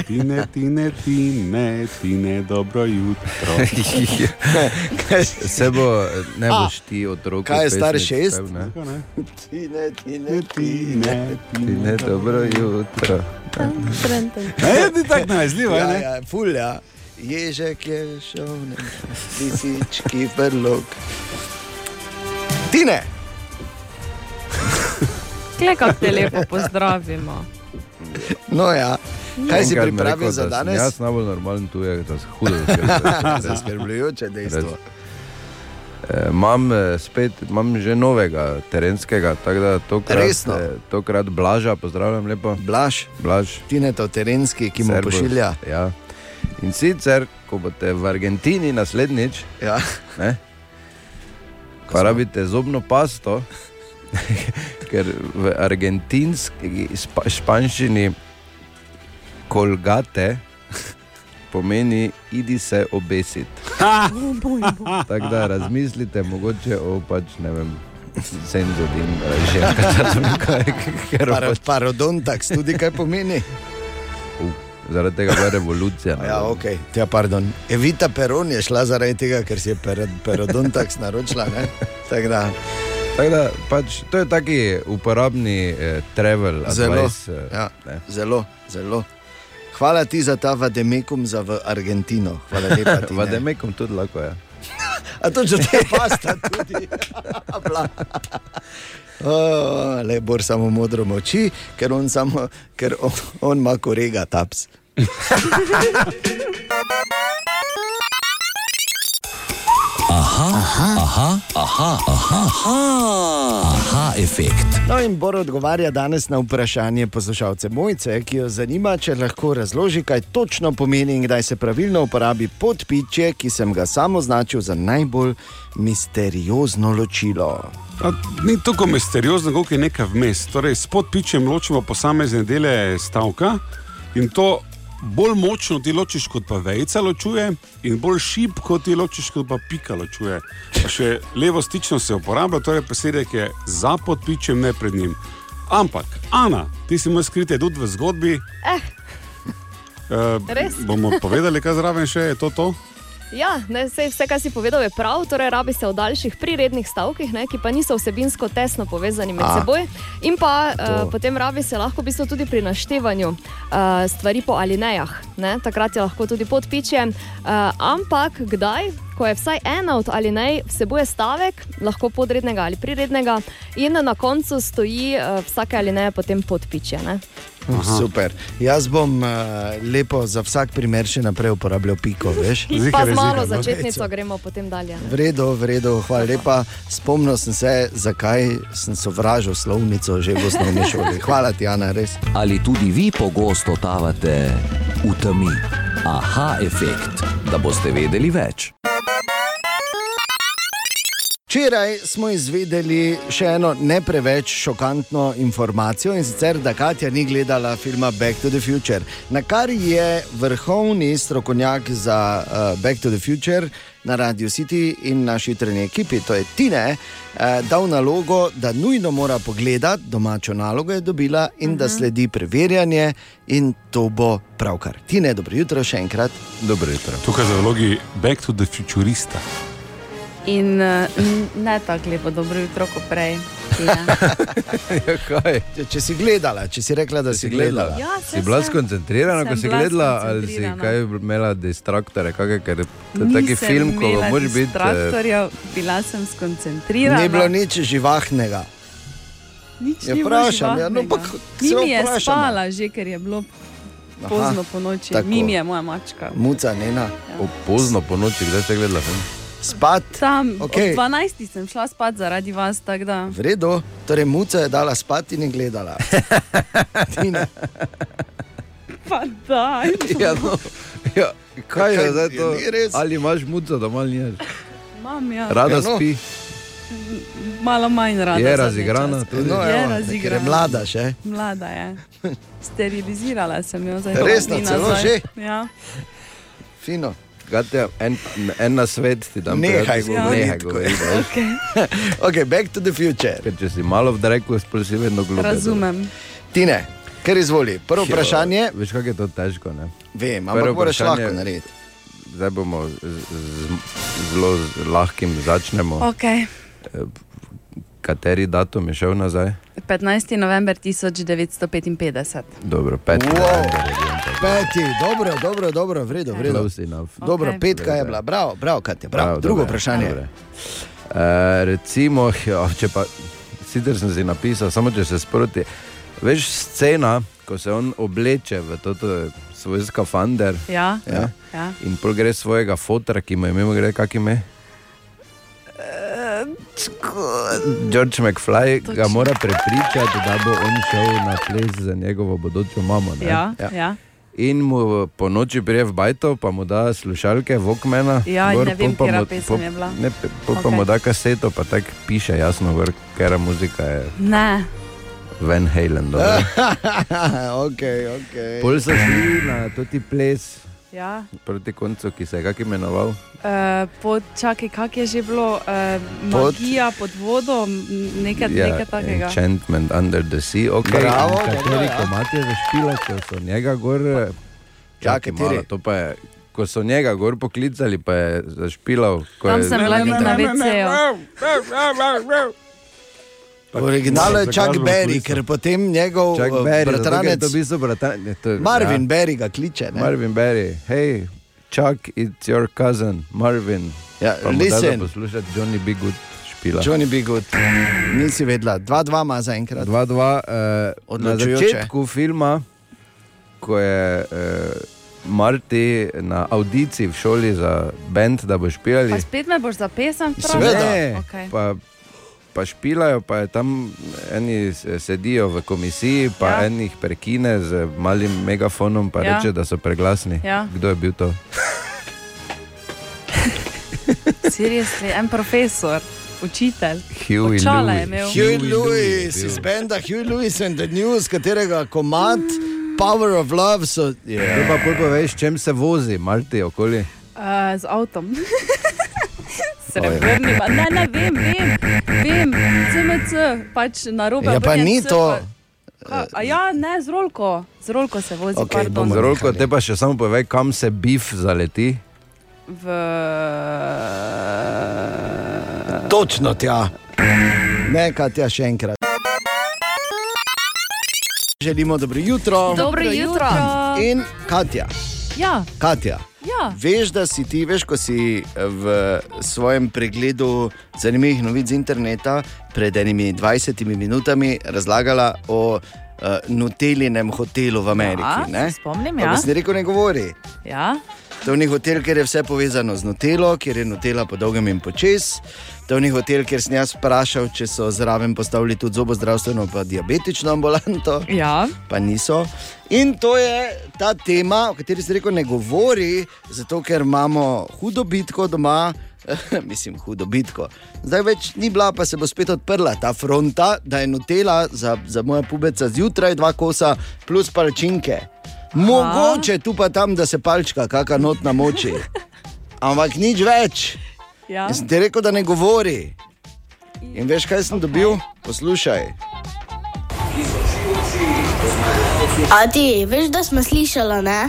E: Tine, tine, tine, tine, dobro jutro.
A: Ja.
H: Se bo, ne
C: A,
H: boš ti otrok.
C: Kaj je star šest?
H: Ne,
C: Ti ne, ti ne, ti
E: ne.
H: ti ne, dobro jutro.
E: Ne, ni tako najezljivo,
C: ja,
E: ne?
C: ja, ful, ja. Ježek je šel, ne, lisički prlog. Ti ne.
D: Glej, kako te lepo pozdravimo.
C: No, ja. Kaj si
H: Enkrat mi je
C: pripravil
H: rekel,
C: za
H: da sem
C: danes?
H: Jaz najbolj normalen tu je, da se hudo
C: Zaskrbljujoče dejstvo.
H: Eh, Imam eh, spet imam že novega terenskega, tako da tokrat,
C: Resno?
H: eh, tokrat blaža, pozdravljam lepo.
C: Blaž,
H: Blaž.
C: ti ne to terenski, ki mu pošilja.
H: Ja. In sicer, ko boste v Argentini naslednjič,
C: ja.
H: ne, pa rabite zobno pasto, ker v argentinski spa, španščini kolgate pomeni idi se obesiti. Tako da razmislite, mogoče o pač ne vem. Senzo in še enkrat, ker pač
C: Par, parodontax tudi kaj pomeni.
H: zaradi tega je bila revolucija.
C: Ja, ok, ja, pardon. Evita Peron je šla zaradi tega, ker si je per, parodontax naročila. ne? Tako da.
H: Tako da, pač, to je taki uporabni eh, travel,
C: Zelo,
H: advice, eh,
C: ja,
H: ne.
C: zelo, zelo. Hvala ti za ta vademekum za v Argentino. Hvala lepa. Tine.
H: Vademekum tudi lahko je.
C: A to že te pasta tudi. Bla. O, le bor samo modro moči, ker on, samo, ker on, on ima korega taps.
A: Aha, aha, aha, aha, aha, aha, aha efekt.
C: No, in Bor odgovarja danes na vprašanje poslušalce Mojce, ki jo zanima, če lahko razloži, kaj točno pomeni in kdaj se pravilno uporabi podpičje, ki sem ga sam označil za najbolj misteriozno ločilo.
E: A, ni tako misteriozno, kot je nekaj vmes. Torej, s podpičem ločimo posamezne dele stavka in to bolj močno ti ločiš, kot pa vejca ločuje, in bolj šibko ti ločiš, kot pa pika ločuje. Pa še levo stično se uporablja, torej besedek je za podpičem, ne pred njim. Ampak, Ana, ti si moj skriti tudi v zgodbi.
F: Eh,
E: Uh,
F: Res?
E: bomo povedali, kaj zraven še je to. to?
F: Ja, ne, sej, vse, kar si povedal, je prav. Torej, rabi se v daljših prirednih stavkih, ne, ki pa niso vsebinsko tesno povezani med
P: A.
F: A, seboj. In pa
P: To.
F: uh, potem rabi se lahko v bistvu tudi pri naštevanju uh, stvari po alinejah. Ne. Takrat je lahko tudi podpiče. Uh, ampak kdaj, ko je vsaj ena od alinej vsebuje stavek, lahko podrednega ali prirednega, in na koncu stoji uh, vsake alineje potem podpiče. Ne.
C: Aha. Super. Jaz bom uh, lepo za vsak primer še naprej uporabljal piko. Veš?
F: Pa z malo
P: no.
F: začetnico gremo potem dalje. ne.
C: Vredo, vredo, hvala lepa. Spomnil sem se, zakaj sem sovražil slovnico že v osnovni šoli. Hvala ti, Ana, res.
A: Ali tudi vi pogosto totavate v temi? Aha efekt, da boste vedeli več.
C: Včeraj smo izvedeli še eno ne preveč šokantno informacijo in sicer, da Katja ni gledala filma Back to the Future. Na kar je vrhovni strokovnjak za uh, Back to the Future na Radio City in naši treni ekipi, to je Tine, uh, dal nalogo, da nujno mora pogledati, domačo nalogo je dobila in da sledi preverjanje, in to bo pravkar. Tine, dobro jutro še enkrat.
H: Dobro jutro.
E: Tukaj za vlogi Back to the Futurista.
D: In eh, n- ne tako lepo, dobro jutro, kot prej. Ja.
C: Če, če si gledala, če si rekla, da si gledala.
D: Ja, saj
H: si bila
D: sem.
H: skoncentrirana, ko
D: Sem
H: si
D: bila
H: gledala, ali si
D: skoncentrirana.
H: kaj imela distraktore, kakaj, ker to je taki
D: Nisem
H: film, ko
D: imela
H: ga moraš biti. eh,
D: distraktorjev, bila sem skoncentrirana.
C: Ni
H: no.
C: bilo nič živahnega.
D: nič
C: Ja,
D: ni bilo
C: vprašam, ja, no,
D: živahnega.
C: pa k-
D: Ni
C: se
D: mi je
C: vprašam.
D: spala že, ker je bilo
C: Aha,
D: pozno po noči.
C: tako.
D: Mimi je moja mačka.
C: Muca, nena.
H: O, pozno po noči, kdaj ste gledala film?
C: Spat.
D: Tam,
C: Okej.
D: okay. 12 sem šla spat zaradi vas, tako da.
C: V redu, torej muca je dala spati in je gledala. Tine,
D: Pa da.
H: Ja, no, ja, kaj je
C: Kaj,
H: zdaj to?
C: ni res?
H: Ali imaš muco doma ali ne?
D: Mam, ja.
H: Rada
C: no.
H: spi.
D: Malo manj rada.
H: Je
D: zadnje
H: razigrana
D: čase.
H: tudi? No,
D: je
H: evo,
D: razigrana.
H: ker je mlada še.
D: Mlada je. Sterilizirala sem jo za
H: Resno, celo že?
D: Ja.
C: fino.
H: Katja, en, en na svet ti dam.
C: Nehaj
H: prijatelj,
C: govoriti,
H: nehaj
C: ko je-
H: govoriti. veš.
C: okay, back to the future.
H: Ker če si malo v dreku, si vedno globoko.
D: Razumem.
C: Tine, ker izvoli. Prvo vprašanje.
H: Veš, kako je to težko? Ne?
C: Vem, ampak moraš
H: vprašanje-
C: lahko narediti.
H: Zdaj bomo z, z, z- zelo z lahkim začnemo.
D: Okay.
H: Kateri datum je šel nazaj?
D: 15. november 1955.
H: Dobro, pet.
C: Peti, dobro, dobro, dobro, v redu, v redu.
H: Close enough.
C: Dobro,
H: Ok.
C: petka je bila, bravo, bravo, Katja, bravo.
H: Prav,
C: Drugo
H: dobro,
C: vprašanje.
H: dobro. E, recimo, ja, če pa. si sicer sem si napisal, samo če se sproti. Veš, scena, ko se on obleče v to svoj skafander
D: Ja.
H: ja,
D: Ja.
H: in pol gre svojega fotra, ki mu je imel, gre kak ime. Eh, George McFly Točno. ga mora prepričati, da bo on šel na ples za njegovo bodočo mamo. ne?
D: Ja, ja.
H: In mu po noči prije v bajto, pa mu da slušalke, vokmena.
D: Ja, in ne vem,
H: pol pa
D: katera
H: mu-
D: pesem
H: pol-
D: je bila.
H: Ne, pe- pol pa
D: Ok.
H: mu da kaseto, pa tako piše jasno, gor, katera muzika je
J: Ne.
H: Van Halen. dobro.
C: Ah. okay, okay.
H: Pol so šli na toti ples
D: Ja.
H: proti koncu, ki se je kak imenoval.
D: Uh, pod, čakaj, kak je že bilo, uh,
H: Pod-
D: magija pod vodo, m, nekaj, ja, nekaj takega.
H: Enchantment under the sea, ok.
C: Bravo,
H: in
C: dobro,
H: kateri
C: ja.
H: komat je zašpila, ko so njega gor. eh, Čakaj,
C: Ja, kateri?
H: malo, to pa je. Ko so njega gor poklicali, pa je zašpilal. ko
D: Tam
H: je-
D: sem bila glih na VC-ju.
C: V originalu je Chuck Berry, ker potem njegov
H: Chuck
C: eh,
H: Berry, zato, ker je
C: bratranec
H: to v bistvu bratan- ne, to je-
C: Marvin
H: ja.
C: Berry ga kliče. Ne?
H: Marvin Berry, hej, Chuck, it's your cousin, Marvin.
C: Ja,
H: pa mu da za
C: listen.
H: Poslušati Johnny B. Good špila.
C: Johnny B. Good, nisi vedela, 2-2 ima zaenkrat.
H: 2-2, uh, na
C: Odločujoče.
H: začetku filma, ko je uh, Marti na audiciji v šoli za bend, da bo špijali.
J: Pa spet me boš za pesem vprašal?
H: Ne,
J: Okay.
H: pa, pa špilajo, pa je tam eni s- sedijo v komisiji, pa
D: Ja.
H: ja. enih prekine z malim megafonom, pa
D: Ja.
H: ja. reče, da so preglasni.
D: Ja.
H: Kdo je bil to?
D: Seriously, en profesor, učitelj.
H: Huey
D: Očala je
H: Lewis.
D: imel.
C: Huey Lewis iz benda Huey Lewis and the News, katerega komat Power of Love so.
H: Ja. Zdaj pa pol poveš, s čem se vozi, Marti okoli.
D: Uh, z avtom. Srebrni, pa ne, ne vem, vem, vem, CMC, pač na robe.
H: Ja, pa ni to.
D: A ja, ne, z rolko, z rolko se vozi, okay, pardon.
H: Zelo, kot te pa še samo povej, kam se bif zaleti.
D: V...
C: Točno tja. Ne, Katja, še enkrat. Želimo dobro jutro.
F: Dobro jutro.
C: In Katja.
D: Ja,
C: Katja.
D: ja.
C: Veš, da si ti, veš, ko si eh, v svojem pregledu zanimivih novic z interneta pred enimi 20 minutami razlagala o uh, Nutelinem hotelu v Ameriki.
D: Ja,
C: ne?
D: se spomnim,
C: Pa
D: ja.
C: Ko si rekel, ne govori.
D: Ja,
C: To ni hotel, kjer je vse povezano z Nutelo, kjer je Nutela po dolgem in počes. To ni hotel, kjer sem jaz vprašal, če so zraven postavili tudi zobozdravstveno in diabetično ambulanto.
D: Ja.
C: Pa niso. In to je ta tema, o kateri se reko ne govori, zato ker imamo hudo bitko doma. Mislim, hudo bitko. Zdaj več ni bila, pa se bo spet odprla ta fronta, da je nutela za, za moja pubeca zjutraj, dva kosa, plus palčinke. Mogoče tu pa tam, da se palčka, kakor not na moči. Ampak nič več.
D: ja.
C: Jaz sem ti rekel, da ne govori. In veš, kaj sem dobil? Poslušaj.
P: A ti, veš, da smo slišali, ne?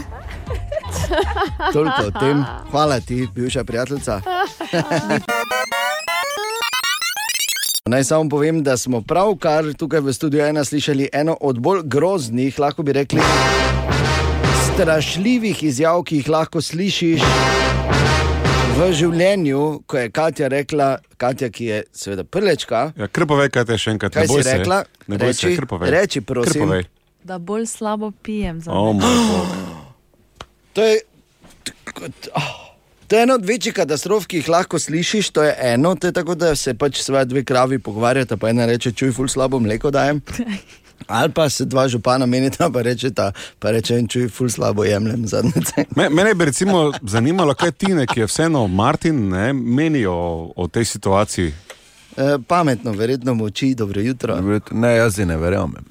C: Toliko o tem. Hvala ti, bivša prijateljica. Naj samo povem, da smo pravkar tukaj v studiu ena slišali eno od bolj groznih, lahko bi rekli, strašljivih izjav, ki jih lahko slišiš v življenju, ko je Katja rekla, Katja, ki je seveda prlečka.
E: Ja, kar povej, kaj te še enkrat
C: Kaj
E: ne boj
C: si rekla?
E: Se, ne boj se,
C: Reči-
E: kar povej.
C: reči, prosim.
E: Kar povej.
D: da bolj slabo pijem za
E: Oh,
D: me.
E: moj bog.
C: To je, to je ena od večjih katastrof, ki jih lahko slišiš. To je eno, to je tako, da se pač sva dve kravi pogovarjata, pa ena reče: Čuj, ful slabo mleko dajem. Ali pa se dva župana menita, pa reče ta, pa reče: Čuj, ful slabo jemljem zadnjice.
E: Me- Mene bi recimo zanimalo, kaj Tine, ki je vseeno Martin, ne, menijo o, o tej situaciji.
C: E, pametno, verjetno mu oči, dobro jutro.
H: Dobro jutro. Ne, jaz ji ne verjamem.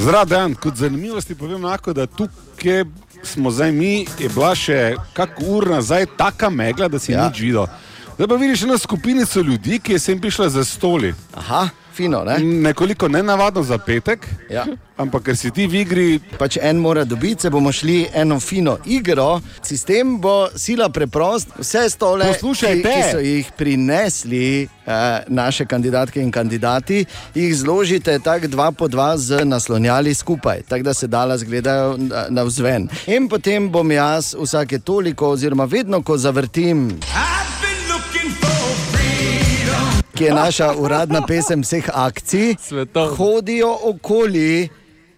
E: Zdrav dan, kot zanimivosti povem lahko, da tukaj smo zdaj mi, je bila še kak ur nazaj taka megla, da si ja. nič videl. Zdaj pa vidiš eno skupinico ljudi, ki je sem prišla za stoli.
C: Aha, fino, ne?
E: Nekoliko nenavadno za petek,
C: Eh? ja.
E: ampak ker si ti v igri.
C: Pač en mora dobiti, se bomo šli eno fino igro. Sistem bo sila preprost, vse stole, ki,
E: Poslušajte.
C: ki so jih prinesli eh, naše kandidatke in kandidati, jih zložite tako dva po dva z naslonjali skupaj, tako da se dala zgledajo na- navzven. In potem bom jaz vsake toliko, oziroma vedno, ko zavrtim
I: I've been looking for freedom.
C: ki je naša uradna pesem vseh akcij, Svetov. hodijo okoli.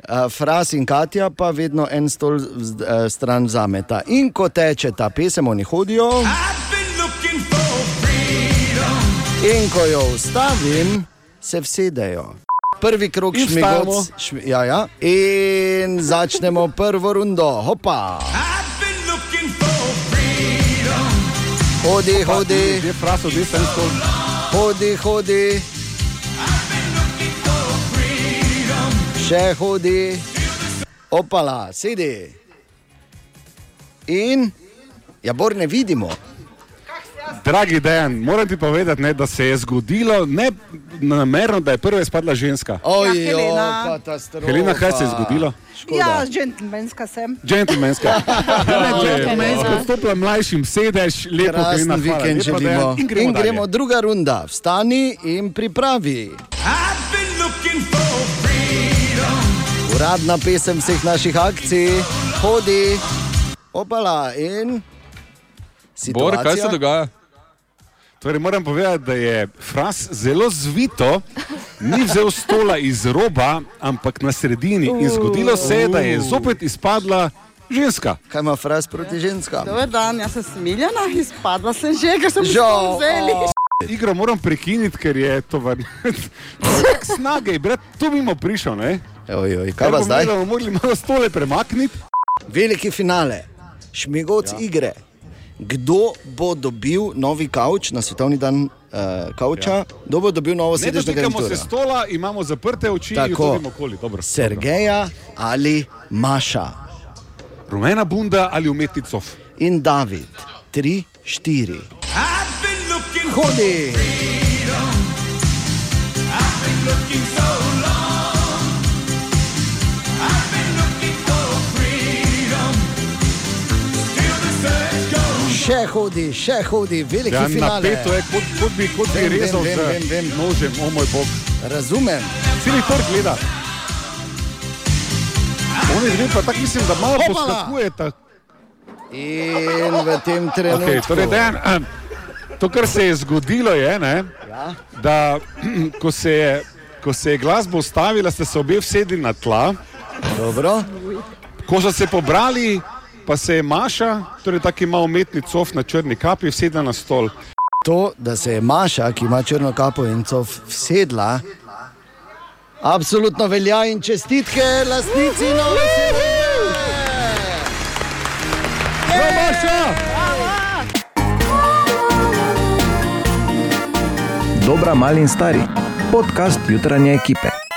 C: Uh, Fras in Katja pa vedno en stol z- eh, stran zameta. In ko teče ta pesem, oni hodijo. In ko jo ustavim, se vsedejo. Prvi krok
E: In vstajamo.
C: šmigoc, šmi, ja, ja. in začnemo prvo rundo. Hopa. Hodi, hodi. Hodi, hodi. Še hodi. Opala, sedi. In, ja, bor ne vidimo.
E: Dragi Dejan, moram ti povedati, ne, da se je zgodilo ne namerno, da je prva izpadla ženska.
C: Oj,
Q: Ja, Helena.
C: katastrofa.
E: Helena, kaj se je zgodilo?
Q: Ja, džentlmenska sem.
E: Džentlmenska.
Q: Džentlmenska.
E: Džentlmenska. Stopila mlajšim, sedeš, lepo
C: Krasen
E: Helena, hvala,
C: vikend
E: lepa, Dejan.
C: želimo.
E: In gremo,
C: In gremo
E: dalje.
C: druga runda, vstani in pripravi. Uradna pesem vseh naših akcij, hodi, opala in.
E: Bor, kaj se
C: situacija?
E: dogaja? Torej, moram povedati, da je fras zelo zvito, ni vzel stola iz roba, ampak na sredini. In zgodilo se je, da je zopet izpadla ženska.
C: Kaj ima fras proti ženskam?
Q: Dober dan, jaz sem smiljena, izpadla sem že, ker sem
C: Žal,
Q: že vzeli.
E: Igro moram prekiniti, ker je to vrnil. Snage, brat, tu mimo prišel, ne?
C: Ojoj, oj, kaj pa zdaj?
E: Da bomo morali malo stole premakniti.
C: Veliki finale, šmigovc ja. igre. Kdo bo dobil novi kavč na svetovni dan uh, kavča? Ja. Kdo bo dobil novo
E: Ne
C: sedežno
E: dotikamo se
C: garnituro?
E: stola, imamo zaprte oči in
C: torej. Tako.
E: hodimo okoli. Dobro.
C: Sergeja ali Maša.
E: Rumena bunda ali umetnicov.
C: In David, tri, štiri. Hodi! Še hodi, še hodi, veliki
E: Ja,
C: finale.
E: napeto je, kot, kot bi, kot bi
C: Vem, vem,
E: rezal
C: vem,
E: z
C: vem, vem.
E: nožem, o moj bog.
C: Razumem.
E: Celi trg gleda. Oni dve pa tako mislim, da malo
C: Opala!
E: poskakujeta.
C: In v tem trenutku.
E: Okay, torej, Dejan, ehm, to, kar se je zgodilo, je, ne,
C: Ja.
E: da ko se je, ko se je glasba ustavila, ste se obe usedli na tla.
C: Dobro.
E: Ko so se pobrali, pa se je Maša, torej tako ima umetni cof na črni kapi, usedla na stol.
C: To, da se je Maša, ki ima črno kapo in cov sedla, absolutno velja in čestitke lastnici nove
E: Maša!
A: Dobra, mali in stari. Podcast jutranje ekipe.